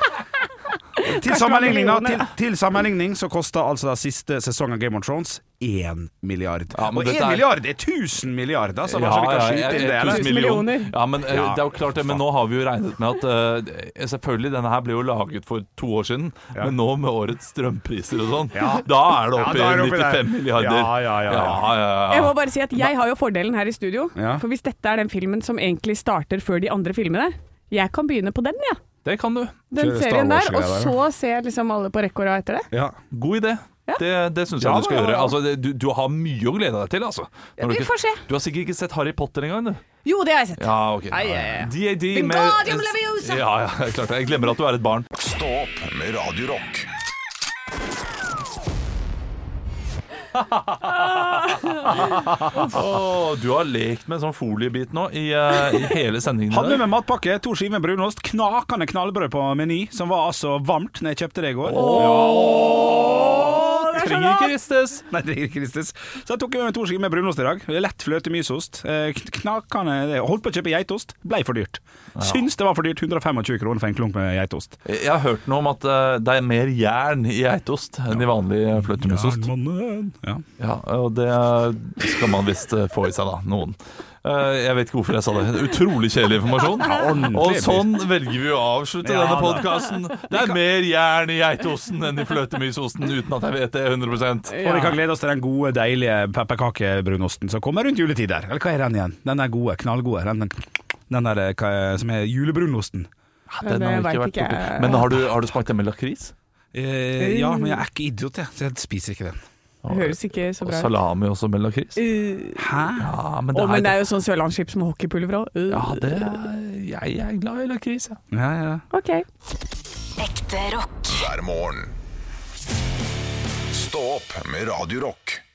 [SPEAKER 4] Til sammenligning, da, til, til sammenligning så kosta altså da siste sesong av Game of Thrones 1 milliard.
[SPEAKER 3] Ja, men
[SPEAKER 4] Og 1
[SPEAKER 3] dette er-
[SPEAKER 4] milliard er 1000 milliard, altså. Bare så vi kan skyte inn
[SPEAKER 3] tusen
[SPEAKER 4] det. Eller?
[SPEAKER 5] tusen
[SPEAKER 3] million.
[SPEAKER 5] millioner.
[SPEAKER 3] Ja, men eh,
[SPEAKER 4] Ja,
[SPEAKER 3] det er jo klart det, men nå har vi jo regnet med at eh, Selvfølgelig, denne her ble jo laget for to år siden,
[SPEAKER 4] Ja.
[SPEAKER 3] men nå med årets strømpriser og sånn,
[SPEAKER 4] Ja.
[SPEAKER 3] da er det
[SPEAKER 4] Ja,
[SPEAKER 3] oppe
[SPEAKER 4] da er
[SPEAKER 3] i
[SPEAKER 4] det oppe der.
[SPEAKER 3] 95 milliarder.
[SPEAKER 4] Ja, ja, ja, ja.
[SPEAKER 3] ja,
[SPEAKER 5] Jeg
[SPEAKER 3] ja.
[SPEAKER 5] må bare si at jeg har jo fordelen her i studio.
[SPEAKER 4] Ja.
[SPEAKER 5] For hvis dette er den filmen som egentlig starter før de andre filmene, jeg kan begynne på den, ja.
[SPEAKER 3] Det kan du.
[SPEAKER 5] Den
[SPEAKER 4] Kjøre Star
[SPEAKER 5] serien der. Og
[SPEAKER 4] Wars-greier der,
[SPEAKER 5] så ser liksom alle på rekke og rad etter det.
[SPEAKER 4] Ja.
[SPEAKER 3] God idé. Det, det syns jeg
[SPEAKER 4] Ja,
[SPEAKER 3] du skal
[SPEAKER 4] ja, ja.
[SPEAKER 3] gjøre. Altså, det, du, du har mye å glede deg til, altså. Når du
[SPEAKER 5] vi
[SPEAKER 3] ikke-
[SPEAKER 5] får se.
[SPEAKER 3] Du har sikkert ikke sett Harry Potter engang, du.
[SPEAKER 5] Jo, det har jeg sett.
[SPEAKER 3] Ja, ok.
[SPEAKER 5] Ai, ai, ai.
[SPEAKER 3] DAD med
[SPEAKER 5] Wingardium Leviosa!
[SPEAKER 3] Ja, ja, det er klart det. Jeg glemmer at du er et barn.
[SPEAKER 2] Stå opp med Radio Rock.
[SPEAKER 3] Åh, du har lekt med en sånn foliebit nå i, eh, i hele sendingen.
[SPEAKER 4] Hadde
[SPEAKER 3] der.
[SPEAKER 4] med meg matpakke, to skiver med brunost, knakende knallbrød på Meny, som var altså varmt når jeg kjøpte det i går.
[SPEAKER 3] Åh, Trenger ikke ristes.
[SPEAKER 4] Nei, det er ikke Kristus. Så jeg tok med meg to skiver med brunost i dag. Lett fløte, mysost. Eh, kn- Knakende Holdt på å kjøpe geitost. Blei for dyrt. Syns det var for dyrt. 125 kroner for en klump med geitost.
[SPEAKER 3] Jeg har hørt noe om at eh, det er mer jern i geitost enn i vanlig fløtemusost.
[SPEAKER 4] Jernmannen. Ja.
[SPEAKER 3] Ja, og det skal man visst eh, få i eh, seg, da. Noen. Eh, Jeg vet ikke hvorfor jeg sa det. Utrolig kjedelig informasjon. Og sånn velger vi å avslutte
[SPEAKER 4] Ja,
[SPEAKER 3] denne
[SPEAKER 4] da.
[SPEAKER 3] podkasten. Det er mer jern i geitosten enn i fløtemysosten, uten at jeg vet det 100
[SPEAKER 4] Og vi kan glede oss til den gode, deilige pepperkakebrunosten som kommer rundt juletid der. Eller hva er den igjen? Den er gode, knallgode. Den, den, den der eh, hva er, som er julebrunosten.
[SPEAKER 3] Den har
[SPEAKER 5] Det
[SPEAKER 3] ikke
[SPEAKER 5] vet
[SPEAKER 3] vært
[SPEAKER 5] ikke
[SPEAKER 3] oppi.
[SPEAKER 5] jeg.
[SPEAKER 3] Men har du, har du smakt den med lakris?
[SPEAKER 4] Eh, ja, men jeg er ikke idiot, jeg, så jeg spiser ikke den.
[SPEAKER 5] Høres ikke så
[SPEAKER 3] Og
[SPEAKER 5] bra ut.
[SPEAKER 3] salami også med lakris?
[SPEAKER 5] Uh,
[SPEAKER 4] Hæ?
[SPEAKER 3] Ja, men
[SPEAKER 5] å, men det
[SPEAKER 3] det er
[SPEAKER 5] er jo sånn sørlandschips med hockeypulver Uh. òg.
[SPEAKER 3] ja, det er- jeg er glad i lakris, jeg.
[SPEAKER 4] Ja, ja.
[SPEAKER 5] OK.
[SPEAKER 1] Ekte rock.
[SPEAKER 2] hver morgen. Stå opp med Radio Rock.